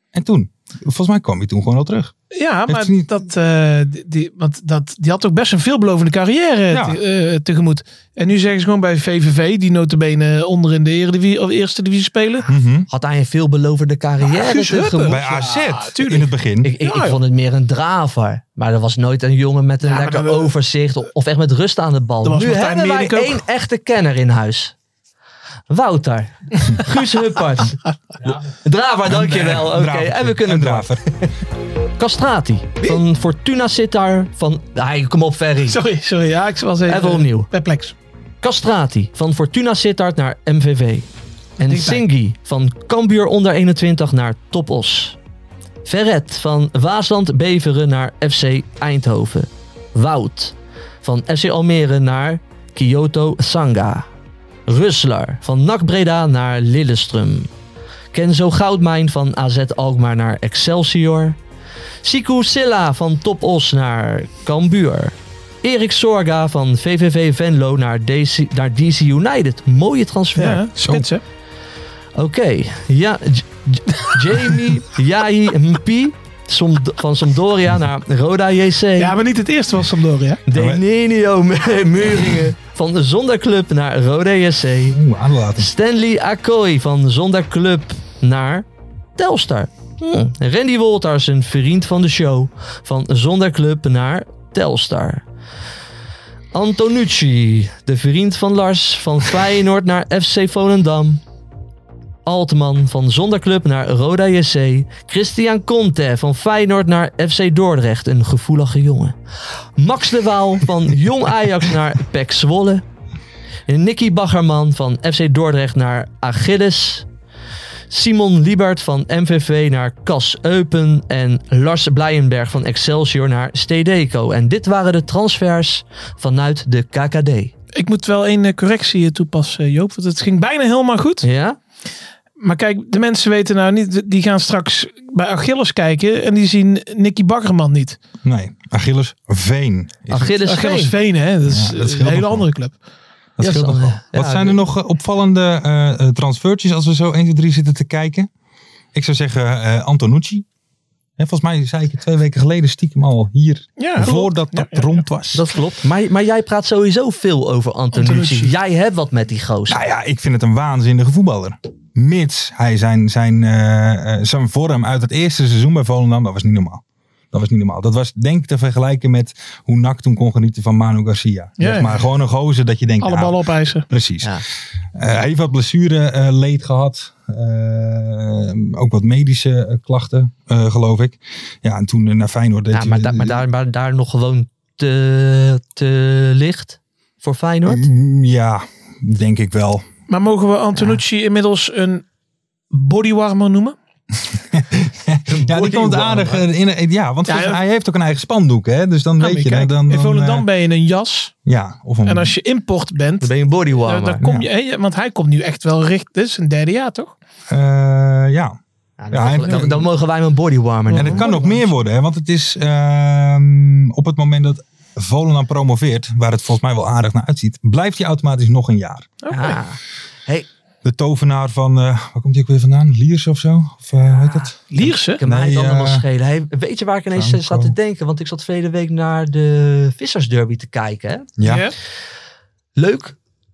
[SPEAKER 5] En toen, volgens mij kwam hij toen gewoon al terug.
[SPEAKER 6] Ja, maar
[SPEAKER 5] hij niet-
[SPEAKER 6] dat, eh, die- die, want dat, die had ook best een veelbelovende carrière
[SPEAKER 5] Ja.
[SPEAKER 6] te- eh, tegemoet. En nu zeggen ze gewoon bij VVV, die notabene onder in de eredivisie, of eerste divisie spelen.
[SPEAKER 5] Mhm.
[SPEAKER 7] Had hij een veelbelovende carrière
[SPEAKER 6] Ah, Guus Huppert.
[SPEAKER 7] tegemoet?
[SPEAKER 5] Bij AZ,
[SPEAKER 6] tuurlijk.
[SPEAKER 5] in het begin.
[SPEAKER 7] Ik, ik,
[SPEAKER 6] Ja,
[SPEAKER 7] ik
[SPEAKER 6] joh.
[SPEAKER 7] vond het meer een draver. Maar er was nooit een jongen met een
[SPEAKER 6] Ja, maar
[SPEAKER 7] lekker
[SPEAKER 6] dat-
[SPEAKER 7] overzicht. Of echt met rust aan de
[SPEAKER 6] Dat
[SPEAKER 7] bal.
[SPEAKER 6] was
[SPEAKER 7] Nu
[SPEAKER 6] Martijn
[SPEAKER 7] hebben wij
[SPEAKER 6] Meerdink ook.
[SPEAKER 7] één echte kenner in huis. Wouter. Guus
[SPEAKER 6] Ah,
[SPEAKER 7] Huppert. Draver, dankjewel. Oké,
[SPEAKER 5] Een dravertje,
[SPEAKER 7] en we kunnen
[SPEAKER 5] een
[SPEAKER 7] door.
[SPEAKER 5] draver.
[SPEAKER 7] Castrati. Van Fortuna Sittard. Van... Ai, kom op, Ferry.
[SPEAKER 6] Sorry, sorry, ja, ik was even,
[SPEAKER 7] Even opnieuw.
[SPEAKER 6] perplex.
[SPEAKER 7] Castrati. Van Fortuna Sittard naar MVV. En
[SPEAKER 6] Ding bij.
[SPEAKER 7] Singi van Cambuur onder 21 naar Topos. Verret van Waasland Beveren naar FC Eindhoven. Wout van FC Almere naar Kyoto Sanga. Ruslar van NAC Breda naar Lillestrum. Kenzo Goudmijn van AZ Alkmaar naar Excelsior. Siku Silla van Topos naar Cambuur. Erik Sorga van VVV Venlo naar DC, naar DC United. Mooie transfer.
[SPEAKER 6] Ja, spits hè.
[SPEAKER 7] Oké, ja, J- J- Jamie Jai Mpi Somd- van Sampdoria naar Roda JC.
[SPEAKER 6] Ja, maar niet het eerste was Sampdoria. hè?
[SPEAKER 7] Denenio M- Meuringen van Zondag Club naar Roda JC.
[SPEAKER 5] Oeh, aanlaten.
[SPEAKER 7] Stanley Akoi van Zondag Club naar Telstar. Hm. Randy Wolters, een vriend van de show, van Zondag Club naar Telstar. Antonucci, de vriend van Lars, van Feyenoord naar FC Volendam. Altman van Zonderclub naar Roda JC. Christian Conte van Feyenoord naar FC Dordrecht. Een gevoelige jongen. Max de Waal van Jong Ajax naar PEC Zwolle. Nicky Baggerman van FC Dordrecht naar Achilles. Simon Liebert van MVV naar Cas Eupen. En Lars Blijenberg van Excelsior naar Stedeco. En dit waren de transfers vanuit de KKD.
[SPEAKER 6] Ik moet wel één eh, correctie eh, toepassen, Joop. Want het ging bijna helemaal goed.
[SPEAKER 7] Ja?
[SPEAKER 6] Maar kijk, de mensen weten nou niet. Die gaan straks bij Achilles kijken. En die zien Nicky Bakkerman niet.
[SPEAKER 5] Nee, Achilles Veen. is het.
[SPEAKER 7] Achilles,
[SPEAKER 6] Achilles
[SPEAKER 7] Veen.
[SPEAKER 6] Veen, hè? Dat is,
[SPEAKER 5] Ja, dat
[SPEAKER 6] een
[SPEAKER 5] scheelt
[SPEAKER 6] hele
[SPEAKER 5] nogal.
[SPEAKER 6] andere club.
[SPEAKER 5] Dat
[SPEAKER 7] Ja,
[SPEAKER 5] scheelt
[SPEAKER 7] dat-
[SPEAKER 5] nogal.
[SPEAKER 7] oh, ja,
[SPEAKER 5] Wat zijn er nog eh, opvallende eh, eh, transfertjes als we zo 1, 2, 3 zitten te kijken? Ik zou zeggen eh, Antonucci. Hè, volgens mij zei ik het twee weken geleden stiekem al hier.
[SPEAKER 6] Ja,
[SPEAKER 5] voordat dat
[SPEAKER 6] klopt. Ja, ja,
[SPEAKER 5] rond was.
[SPEAKER 7] Dat klopt. Maar, maar jij praat sowieso veel over Antonucci.
[SPEAKER 6] Antonucci.
[SPEAKER 7] Jij hebt wat met die gozer.
[SPEAKER 5] Nou ja, ik vind het een waanzinnige voetballer. Mits hij zijn, zijn, eh, eh, zijn vorm uit het eerste seizoen bij Volendam, dat was niet normaal. Dat was niet normaal. Dat was denk ik te vergelijken met hoe NAC toen kon genieten van Manu Garcia.
[SPEAKER 6] Ja,
[SPEAKER 5] zeg
[SPEAKER 6] ja.
[SPEAKER 5] maar gewoon een gozer dat je denkt,
[SPEAKER 6] Alle
[SPEAKER 5] nou,
[SPEAKER 6] ballen opeisen.
[SPEAKER 5] Precies.
[SPEAKER 7] Ja.
[SPEAKER 5] Eh, hij heeft wat blessure eh, leed gehad. Eh, ook wat medische eh, klachten, eh, geloof ik. Ja, en toen eh, naar Feyenoord. deed
[SPEAKER 7] Ja,
[SPEAKER 5] hij-
[SPEAKER 7] maar, da- maar, daar, maar daar nog gewoon te, te licht voor Feyenoord.
[SPEAKER 5] Mm, Ja, denk ik wel.
[SPEAKER 6] Maar mogen we Antonucci inmiddels een bodywarmer noemen?
[SPEAKER 5] Ja, die komt
[SPEAKER 7] warm,
[SPEAKER 5] aardig.
[SPEAKER 7] hè?
[SPEAKER 5] eh, in, eh, ja, want
[SPEAKER 6] Ja,
[SPEAKER 5] volgens-
[SPEAKER 6] ja.
[SPEAKER 5] hij heeft ook een eigen spandoek. Hè? Dus dan
[SPEAKER 6] Nou,
[SPEAKER 5] weet je.
[SPEAKER 6] maar
[SPEAKER 5] Dan,
[SPEAKER 6] kijk,
[SPEAKER 5] dan,
[SPEAKER 6] in Volendam
[SPEAKER 5] eh,
[SPEAKER 6] ben je een jas.
[SPEAKER 5] ja, of een,
[SPEAKER 6] En als je import bent,
[SPEAKER 7] Dan ben je een
[SPEAKER 6] dan,
[SPEAKER 7] bodywarmer.
[SPEAKER 6] dan kom je. hè, Want hij komt nu echt wel richt. Dit is een derde jaar toch?
[SPEAKER 5] eh, ja.
[SPEAKER 7] Ja,
[SPEAKER 5] Ja,
[SPEAKER 7] dan,
[SPEAKER 5] en-
[SPEAKER 7] dan, dan mogen wij hem een bodywarmer
[SPEAKER 5] En het
[SPEAKER 7] noemen.
[SPEAKER 5] kan nog meer worden. Hè? Want het is ehm, op het moment dat Volendam promoveert, waar het volgens mij wel aardig naar uitziet, blijft hij automatisch nog een jaar.
[SPEAKER 7] Ja. Hey,
[SPEAKER 5] De tovenaar van, eh, waar komt die ook weer vandaan? Liers of zo? Of eh, hoe heet het?
[SPEAKER 6] Lierse?
[SPEAKER 7] kan mij
[SPEAKER 5] Nee,
[SPEAKER 7] dan
[SPEAKER 5] eh,
[SPEAKER 7] allemaal schelen. Hey, weet je waar ik ineens eh, zat te denken? Want ik zat verleden week naar de Vissersderby te kijken. hè.
[SPEAKER 5] Ja.
[SPEAKER 6] Ja.
[SPEAKER 7] Leuk.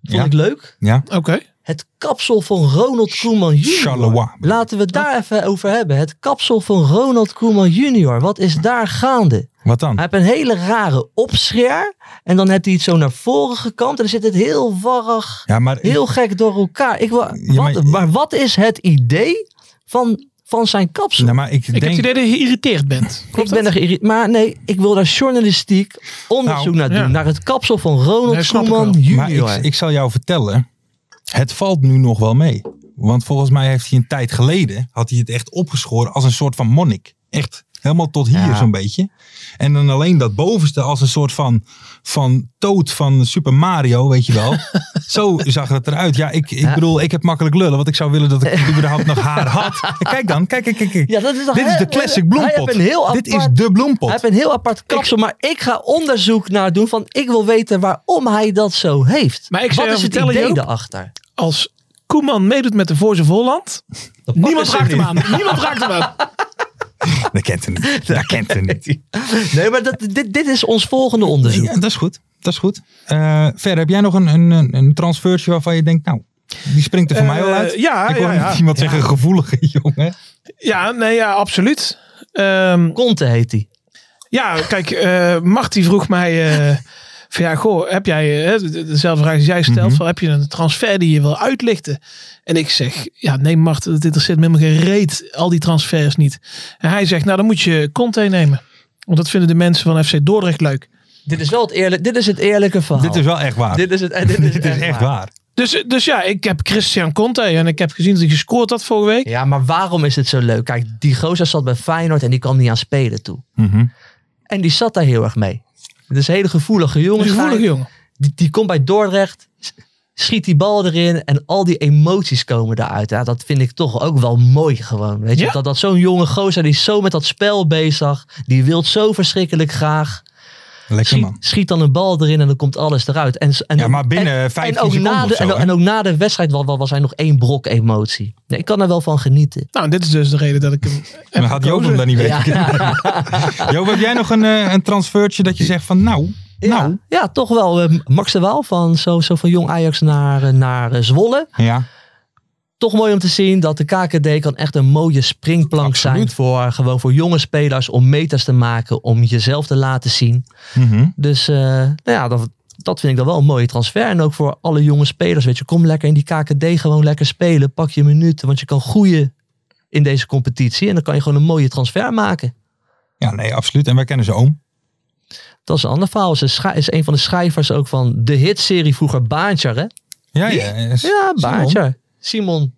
[SPEAKER 7] Vond
[SPEAKER 5] Ja.
[SPEAKER 7] ik leuk.
[SPEAKER 6] Oké.
[SPEAKER 7] Het kapsel van Ronald Koeman junior.
[SPEAKER 5] Charleroi.
[SPEAKER 7] Laten we het daar even over hebben. Het kapsel van Ronald Koeman junior. Wat is daar gaande?
[SPEAKER 5] Wat dan?
[SPEAKER 7] Hij heeft een hele rare opscher. En dan heeft hij het zo naar voren gekant. En dan zit het heel warrig,
[SPEAKER 5] Ja, maar
[SPEAKER 7] heel gek door elkaar. Ik, wa-
[SPEAKER 5] Ja, maar-
[SPEAKER 7] wat, maar wat is het idee van, van zijn kapsel?
[SPEAKER 5] nou, maar ik
[SPEAKER 6] Ik heb
[SPEAKER 5] denk...
[SPEAKER 6] het idee dat je geïrriteerd bent.
[SPEAKER 7] ik ben er geïrriteerd. Maar nee, ik wil daar journalistiek onderzoek
[SPEAKER 5] Nou,
[SPEAKER 7] naar doen.
[SPEAKER 6] ja.
[SPEAKER 7] Naar het kapsel van
[SPEAKER 6] Nee,
[SPEAKER 7] Ronald
[SPEAKER 6] snap ik
[SPEAKER 7] Koeman
[SPEAKER 6] wel.
[SPEAKER 5] maar
[SPEAKER 7] junior.
[SPEAKER 5] ik, ik zal jou vertellen, het valt nu nog wel mee. Want volgens mij heeft hij een tijd geleden, had hij het echt opgeschoren als een soort van monnik. Echt, helemaal tot hier
[SPEAKER 7] Ja.
[SPEAKER 5] zo'n beetje. En dan alleen dat bovenste als een soort van, van toot van Super Mario, weet je wel. zo zag het eruit. Ja, ik, ik
[SPEAKER 7] Ja.
[SPEAKER 5] bedoel, ik heb makkelijk lullen, want ik zou willen dat ik überhaupt nog haar had. Kijk dan, kijk, kijk, kijk. kijk.
[SPEAKER 7] ja, dat is toch
[SPEAKER 5] Dit is
[SPEAKER 7] heel-
[SPEAKER 5] de classic
[SPEAKER 7] Hij
[SPEAKER 5] bloempot.
[SPEAKER 7] heeft een heel
[SPEAKER 5] Dit is
[SPEAKER 7] apart-
[SPEAKER 5] de
[SPEAKER 7] Hij
[SPEAKER 5] bloempot.
[SPEAKER 7] heeft een heel apart kapsel, maar ik ga onderzoek naar doen van ik wil weten waarom hij dat zo heeft.
[SPEAKER 6] Maar ik zou
[SPEAKER 7] Wat is
[SPEAKER 6] je
[SPEAKER 7] het
[SPEAKER 6] vertellen,
[SPEAKER 7] idee
[SPEAKER 6] Joop,
[SPEAKER 7] daarachter?
[SPEAKER 6] Als Koeman meedoet met de Voice of Holland, niemand raakt hem aan. Niemand raakt hem aan.
[SPEAKER 5] Dat kent hij niet. Dat kent hij niet.
[SPEAKER 7] Nee, maar dat, dit, dit is ons volgende onderzoek.
[SPEAKER 5] Ja, dat is goed. Dat is goed. Eh, verder, heb jij nog een, een, een, een transfertje waarvan je denkt, nou, die springt er voor mij wel
[SPEAKER 6] Eh,
[SPEAKER 5] uit?
[SPEAKER 6] ja,
[SPEAKER 5] ik hoor
[SPEAKER 6] ja, ja.
[SPEAKER 5] net iemand zeggen, gevoelige jongen.
[SPEAKER 6] Ja, nee, ja, absoluut. Ehm,
[SPEAKER 7] Conte heet hij.
[SPEAKER 6] ja, kijk, eh Marty vroeg mij eh, van ja, goh, heb jij eh, de- de- dezelfde vraag als jij stelt,
[SPEAKER 5] Mhm.
[SPEAKER 6] van, heb je een transfer die je wil uitlichten? En ik zeg, ja, nee, Mart, dat interesseert me helemaal geen reet, al die transfers niet. En hij zegt, nou, dan moet je Conte nemen. Want dat vinden de mensen van FC Dordrecht leuk.
[SPEAKER 7] Dit is wel het eerlijke, dit is het eerlijke verhaal.
[SPEAKER 5] Ah. Dit is wel echt waar.
[SPEAKER 7] dit is het, eh, dit is
[SPEAKER 5] Dit is echt waar.
[SPEAKER 6] Dus, dus ja, ik heb Christian Conte en ik heb gezien dat hij gescoord had vorige week.
[SPEAKER 7] Ja, maar waarom is het zo leuk? Kijk, die gozer zat bij Feyenoord en die kwam niet aan spelen toe.
[SPEAKER 5] Mhm.
[SPEAKER 7] En die zat daar heel erg mee. Dat is een hele gevoelige jongen.
[SPEAKER 6] Een gevoelige jongen.
[SPEAKER 7] Die, die komt bij Dordrecht, s- schiet die bal erin en al die emoties komen daaruit. Ja, dat vind ik toch ook wel mooi gewoon. Weet je?
[SPEAKER 6] Ja.
[SPEAKER 7] Dat, dat zo'n jonge gozer die is zo met dat spel bezig, die wil zo verschrikkelijk graag.
[SPEAKER 5] Lekker
[SPEAKER 7] Schiet,
[SPEAKER 5] man.
[SPEAKER 7] schiet dan een bal erin en dan komt alles eruit. En, s- en,
[SPEAKER 5] Ja, maar binnen
[SPEAKER 7] en,
[SPEAKER 5] 15
[SPEAKER 7] en ook
[SPEAKER 5] seconden
[SPEAKER 7] na
[SPEAKER 5] of
[SPEAKER 7] de,
[SPEAKER 5] zo,
[SPEAKER 7] en,
[SPEAKER 5] hè?
[SPEAKER 7] en ook na de wedstrijd was, was hij nog één brok emotie. Nee, ik kan er wel van genieten.
[SPEAKER 6] Nou, dit is dus de reden dat ik hem
[SPEAKER 5] Dan had Joop hem dan niet weten.
[SPEAKER 7] Ja, ja,
[SPEAKER 5] Joop, heb jij nog een, eh, een transfertje dat je zegt van nou, nou.
[SPEAKER 7] ja, toch wel. eh, Max de Waal van, zo, zo van jong Ajax naar, eh, naar eh, Zwolle.
[SPEAKER 5] Ja,
[SPEAKER 7] Toch mooi om te zien dat de KKD kan echt een mooie springplank zijn voor, eh, gewoon voor jonge spelers om meters te maken, om jezelf te laten zien.
[SPEAKER 5] Mhm.
[SPEAKER 7] Dus eh, nou ja, dat, dat vind ik dan wel een mooie transfer. En ook voor alle jonge spelers, weet je, kom lekker in die KKD gewoon lekker spelen. Pak je minuten, want je kan groeien in deze competitie. En dan kan je gewoon een mooie transfer maken.
[SPEAKER 5] ja nee, absoluut. En wij kennen ze oom.
[SPEAKER 7] Dat is een ander verhaal. Ze is, scha- is een van de schrijvers ook van de hitserie vroeger Baantjer, hè?
[SPEAKER 5] Ja, ja, eh, s-
[SPEAKER 7] Ja,
[SPEAKER 5] Simon.
[SPEAKER 7] Baantjer. Simon.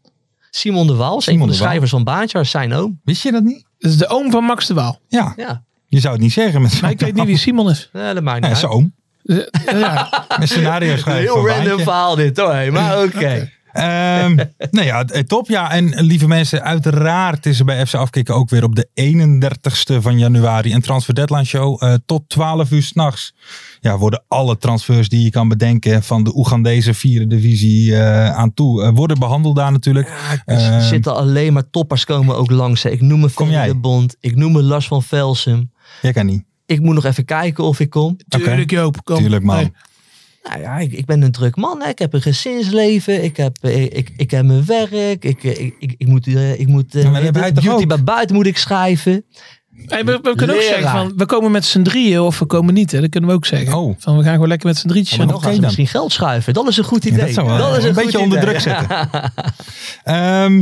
[SPEAKER 7] Simon de Waal is een
[SPEAKER 5] Simon
[SPEAKER 7] van de
[SPEAKER 5] de Waal.
[SPEAKER 7] schrijvers van Baantjer, zijn oom.
[SPEAKER 5] Wist je dat niet?
[SPEAKER 6] Dat is de oom van Max de Waal.
[SPEAKER 5] Ja,
[SPEAKER 7] Ja,
[SPEAKER 5] je zou het niet zeggen. Met
[SPEAKER 6] Maar ik weet niet wie Simon is.
[SPEAKER 7] eh, dat maakt
[SPEAKER 5] Ja,
[SPEAKER 7] niet
[SPEAKER 5] zijn
[SPEAKER 7] uit.
[SPEAKER 5] oom.
[SPEAKER 6] Ja,
[SPEAKER 5] Een scenario schrijven.
[SPEAKER 7] Heel
[SPEAKER 5] van
[SPEAKER 7] random
[SPEAKER 5] Wijntje.
[SPEAKER 7] verhaal dit hoor, hé, maar oké.
[SPEAKER 5] Ehm nou ja, eh, top. Ja, en eh, lieve mensen, uiteraard is er bij FC Afkikken ook weer op de 31ste van januari een Transfer Deadline Show. Eh, tot 12 uur s'nachts ja, worden alle transfers die je kan bedenken van de Oegandese vierde divisie eh, aan toe, eh, worden behandeld daar natuurlijk.
[SPEAKER 7] Er
[SPEAKER 5] Ehm,
[SPEAKER 7] zitten alleen maar toppers komen ook langs. hè. Ik noem me
[SPEAKER 5] Kom
[SPEAKER 7] Ferry
[SPEAKER 5] jij?
[SPEAKER 7] de Bond. Ik noem me Lars van Velsum.
[SPEAKER 5] jij kan niet.
[SPEAKER 7] Ik moet nog even kijken of ik kom.
[SPEAKER 6] tuurlijk Joop. Kom.
[SPEAKER 5] Tuurlijk man.
[SPEAKER 6] Nee.
[SPEAKER 7] Nou ja, ik, ik ben een druk man. Hè. Ik heb een gezinsleven. Ik heb, eh, ik, ik, ik heb mijn werk. Ik, eh, ik, ik, ik moet, eh, ik moet eh,
[SPEAKER 5] Ja, maar dat heb jij toch
[SPEAKER 7] duty
[SPEAKER 5] ook?
[SPEAKER 7] bij buiten moet ik schrijven.
[SPEAKER 6] Hey, we, we kunnen ook
[SPEAKER 7] Leraar.
[SPEAKER 6] zeggen van, we komen met z'n drieën of we komen niet. Hè. Dat kunnen we ook zeggen.
[SPEAKER 5] Oh.
[SPEAKER 6] Van, we gaan gewoon lekker met z'n drietjes.
[SPEAKER 5] Ja, maar
[SPEAKER 6] Ja,
[SPEAKER 7] Dan
[SPEAKER 5] Oké
[SPEAKER 7] gaan ze
[SPEAKER 5] dan.
[SPEAKER 7] misschien geld schuiven. Dat is een goed idee.
[SPEAKER 5] dat zou wel
[SPEAKER 7] is
[SPEAKER 5] een,
[SPEAKER 7] goed
[SPEAKER 5] beetje onder
[SPEAKER 7] idee.
[SPEAKER 5] druk zetten. Ehm,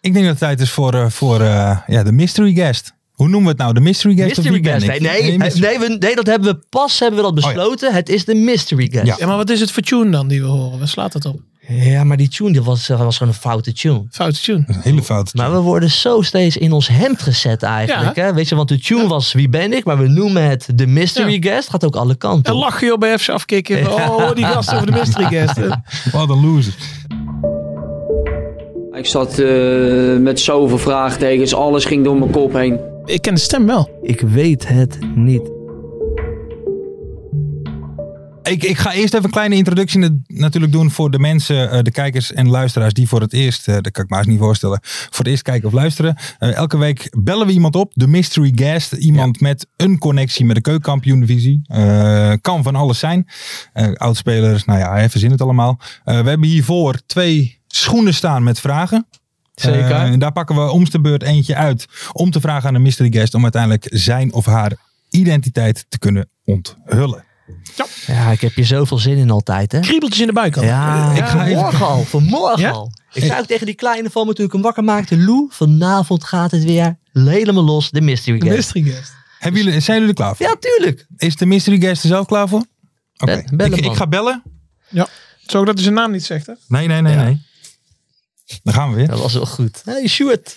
[SPEAKER 5] ik denk dat het tijd is voor, eh, voor eh, ja, de mystery guest. Hoe noemen we het nou? De mystery guest of wie
[SPEAKER 7] Mystery
[SPEAKER 5] ben
[SPEAKER 7] guest. Nee,
[SPEAKER 5] ik?
[SPEAKER 7] nee,
[SPEAKER 5] mystery- Oh
[SPEAKER 7] nee, we- nee, dat hebben we pas hebben we dat
[SPEAKER 5] ja.
[SPEAKER 7] besloten. Het is de mystery guest.
[SPEAKER 5] Ja.
[SPEAKER 6] maar wat is het voor tune dan die we horen? Waar slaat dat op?
[SPEAKER 7] Ja, maar die tune die was, eh, was gewoon een foute tune.
[SPEAKER 6] Foute tune.
[SPEAKER 5] Hele fout.
[SPEAKER 7] Maar we worden zo steeds in ons hemd gezet eigenlijk.
[SPEAKER 6] Ja.
[SPEAKER 7] Hè? Weet je, want de tune was Wie ben ik? Maar we noemen het de mystery guest. Gaat ook alle
[SPEAKER 6] En
[SPEAKER 7] kanten op.
[SPEAKER 6] lachen joh bij FC afkicken. Oh, hoor die gast over de mystery guest. hè.
[SPEAKER 5] Wat een loser.
[SPEAKER 8] Ik zat eh, met zoveel vraagtekens, alles ging door mijn kop heen.
[SPEAKER 6] Ik ken de stem wel.
[SPEAKER 7] Ik weet het niet.
[SPEAKER 5] Ik, ik ga eerst even een kleine introductie na- natuurlijk doen voor de mensen, eh, de kijkers en luisteraars die voor het eerst, eh dat kan ik me haast niet voorstellen, voor het eerst kijken of luisteren. Eh, elke week bellen we iemand op, de mystery guest, iemand met een connectie met de keukenkampioendivisie. Eh kan van alles zijn. Eh Oudspelers, nou ja, hij verzin het allemaal. Eh, we hebben hiervoor twee schoenen staan met vragen.
[SPEAKER 7] Zeker.
[SPEAKER 5] Eh, en daar pakken we omste beurt eentje uit om te vragen aan de mystery guest om uiteindelijk zijn of haar identiteit te kunnen onthullen.
[SPEAKER 7] Ja, ik heb hier zoveel zin in altijd, hè?
[SPEAKER 6] Kriebeltjes in de buik al.
[SPEAKER 7] eh, Ja,
[SPEAKER 5] Ik ga even-
[SPEAKER 7] vanmorgen al. Vanmorgen
[SPEAKER 6] Ja?
[SPEAKER 7] al. Ik zei ook tegen die kleine van me toen ik hem wakker maakte. Lou, vanavond gaat het weer helemaal los. De mystery
[SPEAKER 6] De
[SPEAKER 7] guest.
[SPEAKER 6] mystery guest.
[SPEAKER 5] Hebben jullie, zijn jullie er klaar voor?
[SPEAKER 7] Ja, tuurlijk.
[SPEAKER 5] Is de mystery guest er zelf klaar voor? Oké,
[SPEAKER 7] Be- bellen,
[SPEAKER 5] ik, ik
[SPEAKER 7] man.
[SPEAKER 5] ga bellen.
[SPEAKER 6] Zorg dat hij zijn naam niet zegt. Hè?
[SPEAKER 5] Nee, nee, nee, nee. Dan gaan we weer.
[SPEAKER 7] Dat was wel goed. Hey, Sjoerd.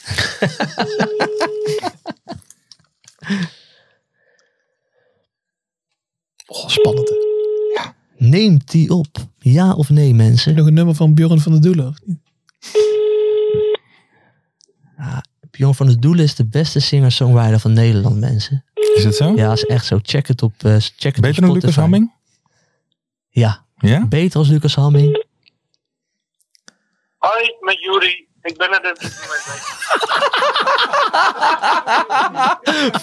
[SPEAKER 6] Oh, spannend. Hè?
[SPEAKER 7] Neemt die op? Ja of nee, mensen?
[SPEAKER 6] Nog een nummer van Bjorn van der Doelen. of niet?
[SPEAKER 7] Bjorn van der Doelen is de beste singer-songwriter van Nederland, mensen.
[SPEAKER 5] Is het zo?
[SPEAKER 7] Ja, is echt zo. Check het op, eh,
[SPEAKER 5] Beter
[SPEAKER 7] check het op
[SPEAKER 5] dan
[SPEAKER 7] Spotify.
[SPEAKER 5] Lucas Hamming?
[SPEAKER 7] Ja,
[SPEAKER 5] Ja?
[SPEAKER 7] beter als Lucas Hamming.
[SPEAKER 9] Hoi, met Juri. Ik ben er dus- dit moment mee.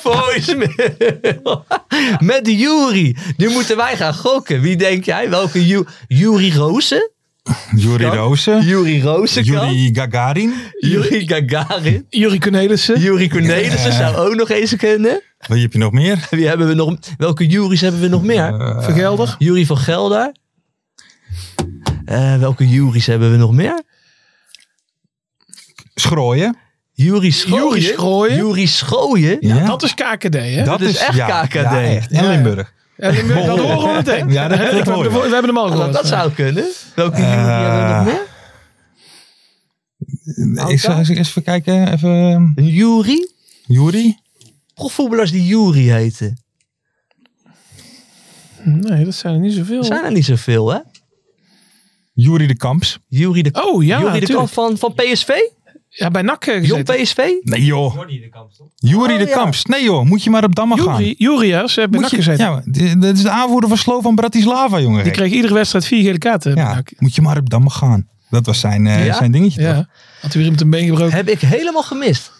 [SPEAKER 7] Voicemail. Met de Jury. Nu moeten wij gaan gokken. Wie denk jij? Welke Ju Jury Rozen?
[SPEAKER 5] Juri
[SPEAKER 7] Kan.
[SPEAKER 5] Roosen?
[SPEAKER 7] Jury Rozen kan?
[SPEAKER 5] Juri Gagarin?
[SPEAKER 7] Jury Gagarin?
[SPEAKER 6] Jurie Cornelissen.
[SPEAKER 7] Jury Cornelissen zou ook nog eens kunnen.
[SPEAKER 5] Wie heb je nog meer?
[SPEAKER 7] Wie hebben we nog, welke Juries hebben we nog meer?
[SPEAKER 5] Eh,
[SPEAKER 6] Vergelder.
[SPEAKER 7] Jury van Gelder. Eh, welke Juries hebben we nog meer?
[SPEAKER 5] Schrooien?
[SPEAKER 7] Jury Schooien.
[SPEAKER 6] Jury Schooijen.
[SPEAKER 7] Jury Schooien.
[SPEAKER 5] Ja.
[SPEAKER 6] Dat is KKD, hè?
[SPEAKER 7] dat is echt KKD.
[SPEAKER 5] Ja, echt. In
[SPEAKER 6] Ja, ja.
[SPEAKER 5] Limburg.
[SPEAKER 6] Ja, die- dat horen we meteen.
[SPEAKER 5] Ja, dat klinkt
[SPEAKER 6] we,
[SPEAKER 5] mooi.
[SPEAKER 6] hebben, we hebben hem al
[SPEAKER 7] Oh, Dat,
[SPEAKER 6] gehoord.
[SPEAKER 7] dat zou kunnen. Welke jury hebben we
[SPEAKER 6] Eh.
[SPEAKER 7] nog meer?
[SPEAKER 5] Ik zou eens even kijken. Even. ehm,
[SPEAKER 7] Een jury?
[SPEAKER 5] Jury?
[SPEAKER 7] Profvoetballers die jury heten.
[SPEAKER 6] Nee, dat zijn er niet zoveel.
[SPEAKER 7] Er zijn er niet zoveel, hè?
[SPEAKER 5] Jury de Kamps.
[SPEAKER 7] Jury de,
[SPEAKER 6] Oh ja,
[SPEAKER 7] jury de
[SPEAKER 6] natuurlijk.
[SPEAKER 7] kamp van, van PSV?
[SPEAKER 6] Ja, bij NAC eh,
[SPEAKER 7] Jong
[SPEAKER 6] gezeten.
[SPEAKER 7] PSV?
[SPEAKER 5] Nee joh. Jury
[SPEAKER 7] Oh,
[SPEAKER 5] de
[SPEAKER 7] ja.
[SPEAKER 5] Kamps. Nee joh, moet je maar op Damme gaan.
[SPEAKER 6] Juri, Juri, ja, ze hebben bij
[SPEAKER 5] Moet
[SPEAKER 6] NAC
[SPEAKER 5] je,
[SPEAKER 6] gezeten.
[SPEAKER 5] ja, dit- dit is de aanvoerder van Slovan Bratislava, jongen.
[SPEAKER 6] Die kreeg iedere wedstrijd vier gele kaarten. bij
[SPEAKER 5] ja,
[SPEAKER 6] NAC.
[SPEAKER 5] moet je maar op Damme gaan. Dat was zijn, eh,
[SPEAKER 7] Ja?
[SPEAKER 5] zijn dingetje. toch?
[SPEAKER 6] ja. Had hij weer met een been gebroken.
[SPEAKER 7] Heb ik helemaal gemist.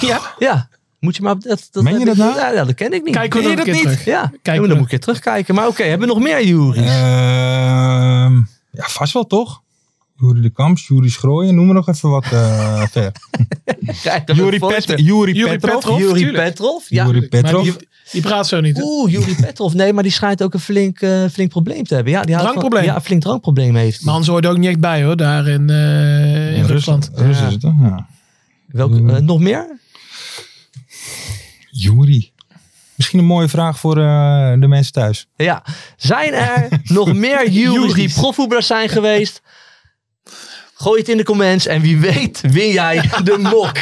[SPEAKER 6] Ja.
[SPEAKER 7] Ja. Moet je maar op dat, dat
[SPEAKER 5] Meen je
[SPEAKER 7] heb
[SPEAKER 5] dat
[SPEAKER 7] ik-
[SPEAKER 5] nou?
[SPEAKER 7] Ja, ja, dat ken ik niet.
[SPEAKER 6] Kijk
[SPEAKER 7] Ken
[SPEAKER 6] we
[SPEAKER 7] je
[SPEAKER 6] nog een
[SPEAKER 7] dat
[SPEAKER 6] keer
[SPEAKER 7] niet?
[SPEAKER 6] terug.
[SPEAKER 7] Ja.
[SPEAKER 6] we
[SPEAKER 7] ja, maar
[SPEAKER 6] nog.
[SPEAKER 7] dan moet ik weer terugkijken. Maar oké, hebben we nog meer juries?
[SPEAKER 5] Eh, Ehm, ja, vast wel toch? Jury de Kamps, Jury Schrooien, noem maar nog even wat eh ver.
[SPEAKER 7] Kijk, dat
[SPEAKER 5] Jury,
[SPEAKER 7] heb ik
[SPEAKER 5] Pet
[SPEAKER 7] voorspeld.
[SPEAKER 5] Jury
[SPEAKER 6] Jury
[SPEAKER 5] Petrov.
[SPEAKER 6] Petrov,
[SPEAKER 7] Juri
[SPEAKER 6] tuurlijk.
[SPEAKER 7] Petrov. Ja.
[SPEAKER 5] Juri Petrov.
[SPEAKER 6] Maar die, die praat zo niet. hè?
[SPEAKER 7] Oeh, Juri Petrov. Nee, maar die schijnt ook een flink, eh, flink probleem te hebben. Ja, die houdt van-
[SPEAKER 6] Drankprobleem.
[SPEAKER 7] Ja, een flink drankprobleem heeft.
[SPEAKER 6] Maar Hans hoorde ook niet echt bij hoor, daar in, eh, in
[SPEAKER 5] Ja,
[SPEAKER 6] Rusland.
[SPEAKER 5] Rus is het, hè? Ja.
[SPEAKER 7] Welke, eh, nog meer?
[SPEAKER 5] Jury. Misschien een mooie vraag voor eh, de mensen thuis.
[SPEAKER 7] Ja. Zijn er nog meer juries die profvoetballers zijn geweest? Gooi het in de comments en wie weet win jij de mok.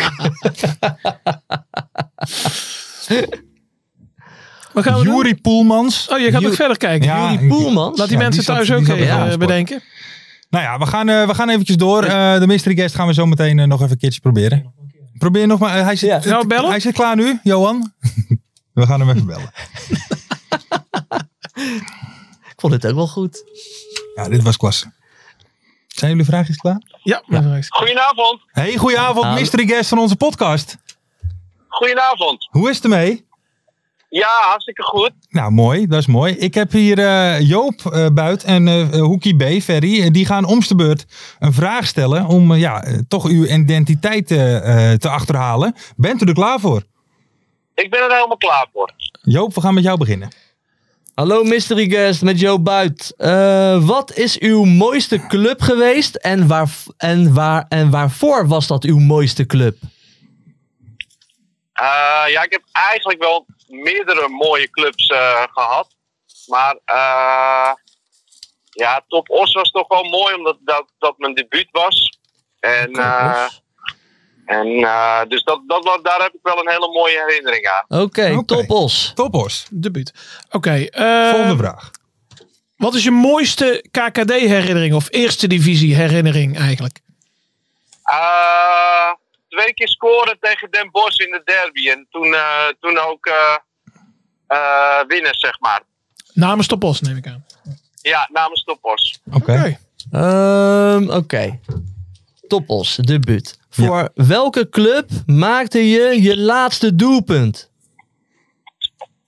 [SPEAKER 6] Maar gaan we doen?
[SPEAKER 5] Jury Poelmans.
[SPEAKER 6] Oh, je gaat nog verder kijken.
[SPEAKER 5] Ja,
[SPEAKER 7] Juri Poelmans.
[SPEAKER 6] Laat die
[SPEAKER 5] Ja,
[SPEAKER 6] mensen
[SPEAKER 5] die
[SPEAKER 6] thuis
[SPEAKER 5] zat-
[SPEAKER 6] ook
[SPEAKER 5] die zat bij
[SPEAKER 6] even
[SPEAKER 5] Hans,
[SPEAKER 6] eh, bedenken.
[SPEAKER 5] Nou ja, we gaan, eh, we gaan eventjes door. Eh, de mystery guest gaan we zo meteen eh, nog even een keertje proberen. Probeer nog maar. eh, hij, zit,
[SPEAKER 7] Ja.
[SPEAKER 6] Nou, bellen?
[SPEAKER 5] hij zit klaar nu, Johan. we gaan hem even bellen.
[SPEAKER 7] Ik vond het ook wel goed.
[SPEAKER 5] Ja, dit was klasse. Zijn jullie vraagjes klaar?
[SPEAKER 6] Ja, maar vraag.
[SPEAKER 9] Goedenavond.
[SPEAKER 5] Hey, goedenavond,
[SPEAKER 7] Hallo.
[SPEAKER 5] mystery guest van onze podcast.
[SPEAKER 9] Goedenavond.
[SPEAKER 5] Hoe is het ermee?
[SPEAKER 9] Ja, hartstikke goed.
[SPEAKER 5] Nou, mooi, dat is mooi. Ik heb hier eh, Joop eh, Buit en eh Hoekie B, Ferry. eh, die gaan omste beurt een vraag stellen om eh, ja, eh, toch uw identiteit eh, eh, te achterhalen. Bent u er klaar voor?
[SPEAKER 9] Ik ben er helemaal klaar voor.
[SPEAKER 5] Joop, we gaan met jou beginnen.
[SPEAKER 7] Hallo mystery guest met Joe Buit. Eh, wat is uw mooiste club geweest en, waar, en, waar, en waarvoor was dat uw mooiste club?
[SPEAKER 9] Eh, ja, ik heb eigenlijk wel meerdere mooie clubs eh, gehad. Maar eh, ja, Top Os was toch wel mooi, omdat dat, dat mijn debuut was. En, eh, en eh, dus dat, dat, wa- daar heb ik wel een hele mooie herinnering aan.
[SPEAKER 7] Oké,
[SPEAKER 5] Oké.
[SPEAKER 7] toppos.
[SPEAKER 5] Toppos,
[SPEAKER 6] Debuut. Oké. eh,
[SPEAKER 5] volgende vraag.
[SPEAKER 6] wat is je mooiste KKD-herinnering of eerste divisie-herinnering eigenlijk?
[SPEAKER 9] Eh, twee keer scoren tegen Den Bosch in de derby. En toen, eh, toen ook eh, eh, winnen, zeg maar.
[SPEAKER 6] Namens Top Os, neem ik aan.
[SPEAKER 9] Ja, namens Top Os.
[SPEAKER 5] Oké.
[SPEAKER 7] Ehm, Oké. Toppos, debuut. Voor welke club maakte je je laatste doelpunt?